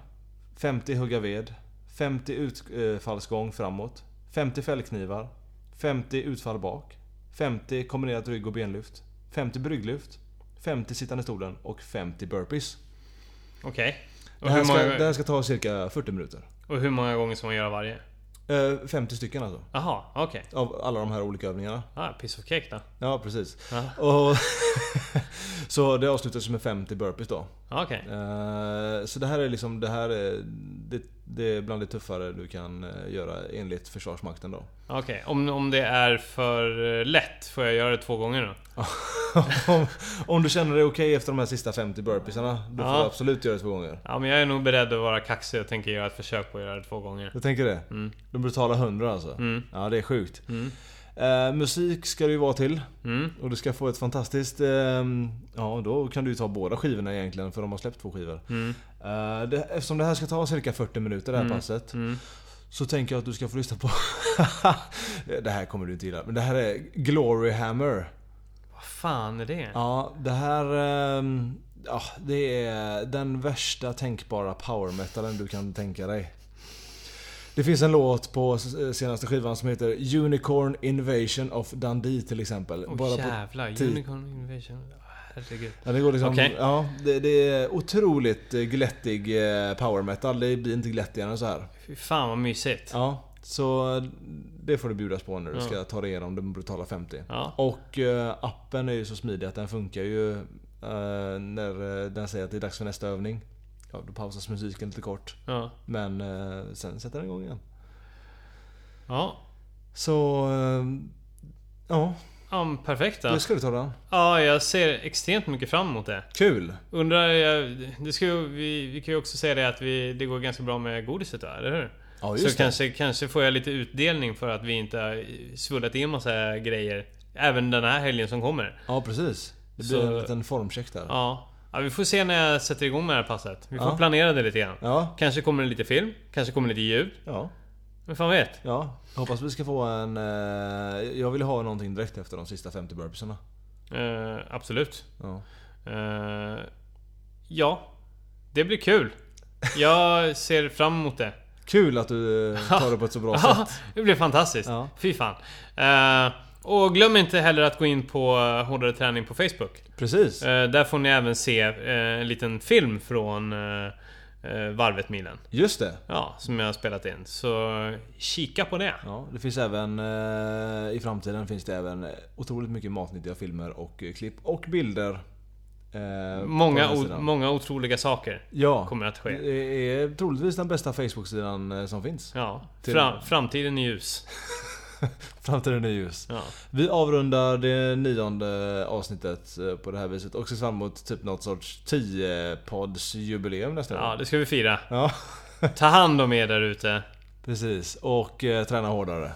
50 hugga ved. 50 utfallsgång framåt. 50 fällknivar. 50 utfall bak. 50 kombinerat rygg och benlyft. 50 brygglyft. 50 sittande stolen och 50 burpees.
Okej. Och,
Det här,
hur
ska,
många,
det här ska ta cirka 40 minuter.
och hur många gånger ska man göra varje?
Eh, 50 stycken alltså.
Jaha, okej.
Av alla de här olika övningarna.
Ah, piece of cake då.
Ja, precis.
Ja.
Och så det avslutas med 50 burpees då.
Ah, Okej.
Eh, Så det här är liksom, det här är, det, det är bland det tuffare du kan eh, göra enligt Försvarsmakten då.
Okej, Om, om det är för eh, lätt, får jag göra det två gånger då?
om, om du känner dig okej efter de här sista 50 burpeesarna, då får
Ja.
du absolut göra det två gånger.
Ja, men jag är nog beredd att vara kaxig och tänker göra ett försök på att göra det två gånger.
Du tänker det? De brutala 100 alltså? Ja, det är sjukt. Eh, musik ska det ju vara till.
Mm.
Och du ska få ett fantastiskt... ehm, ja, då kan du ju ta båda skivorna egentligen för de har släppt två skivor. Eh, det, eftersom det här ska ta cirka 40 minuter det här passet. Så tänker jag att du ska få lyssna på... det här kommer du inte gilla. Men det här är Glory Hammer.
Vad fan är det?
Ja, det här... ehm, ja, det är den värsta tänkbara power metalen du kan tänka dig. Det finns en låt på s- eh, senaste skivan som heter Unicorn Invasion of Dundee till exempel.
Åh
Bara på
jävlar,
ti-
Unicorn Invasion. Ah, Herregud.
Ja, det går liksom,
Okej.
ja, det, det är otroligt eh, glättig eh, power metal. Det blir inte glättigare än så här.
Fy fan vad mysigt.
Ja, så det får du bjudas på när du ska ta dig igenom den brutala 50.
Ja.
Och eh, appen är ju så smidig att den funkar ju eh, när eh, den säger att det är dags för nästa övning. Ja, då pausas musiken lite kort.
Ja.
Men eh, sen sätter den igång igen.
Ja.
Så... eh, Ja,
ja men perfekt då.
det ska du ta den.
Ja, jag ser extremt mycket fram emot det.
Kul!
Undrar jag... Det ska, ju- vi, vi kan ju också säga det att vi, det går ganska bra med godiset då, eller hur?
Ja,
Så
just det.
kanske, kanske får jag lite utdelning för att vi inte har svullat in massa grejer. Även den här helgen som kommer.
Ja, precis. Det blir
Så-
en liten formcheck där.
Ja. ja vi får se när jag sätter igång med det här passet. Vi får
Ja.
planera det lite grann.
Ja,
Kanske kommer det lite film, kanske kommer det lite ljud.
ja.
Men fan vet?
Ja, jag hoppas vi ska få en... Eh, jag vill ha någonting direkt efter de sista 50 burpeesarna.
Eh, absolut.
Ja.
Eh, ja. Det blir kul. Jag ser fram emot det.
Kul att du eh, tar det på ett så bra sätt.
det blir fantastiskt.
Ja.
Fy fan. Eh, Och glöm inte heller att gå in på eh, Hårdare Träning på Facebook.
Precis.
Eh, där får ni även se eh, en liten film från eh, eh, Varvet Milen.
Just det.
Ja, som jag har spelat in. Så kika på det.
Ja, det finns även eh, i framtiden finns det även eh, otroligt mycket matnyttiga filmer och eh, klipp och bilder. eh, på den
Många,
här
o-
sidan.
många otroliga saker
ja,
kommer att ske.
Det är troligtvis den bästa Facebook-sidan eh, som finns.
Ja,
Till-
fram, framtiden är ljus.
Framtiden är ljus.
Ja.
Vi avrundar det nionde avsnittet eh, på det här viset och ser fram emot typ något sorts 10-poddsjubileum nästa
ja,
år.
det ska vi fira.
Ja,
Ta hand om er där ute.
precis. Och eh, träna hårdare.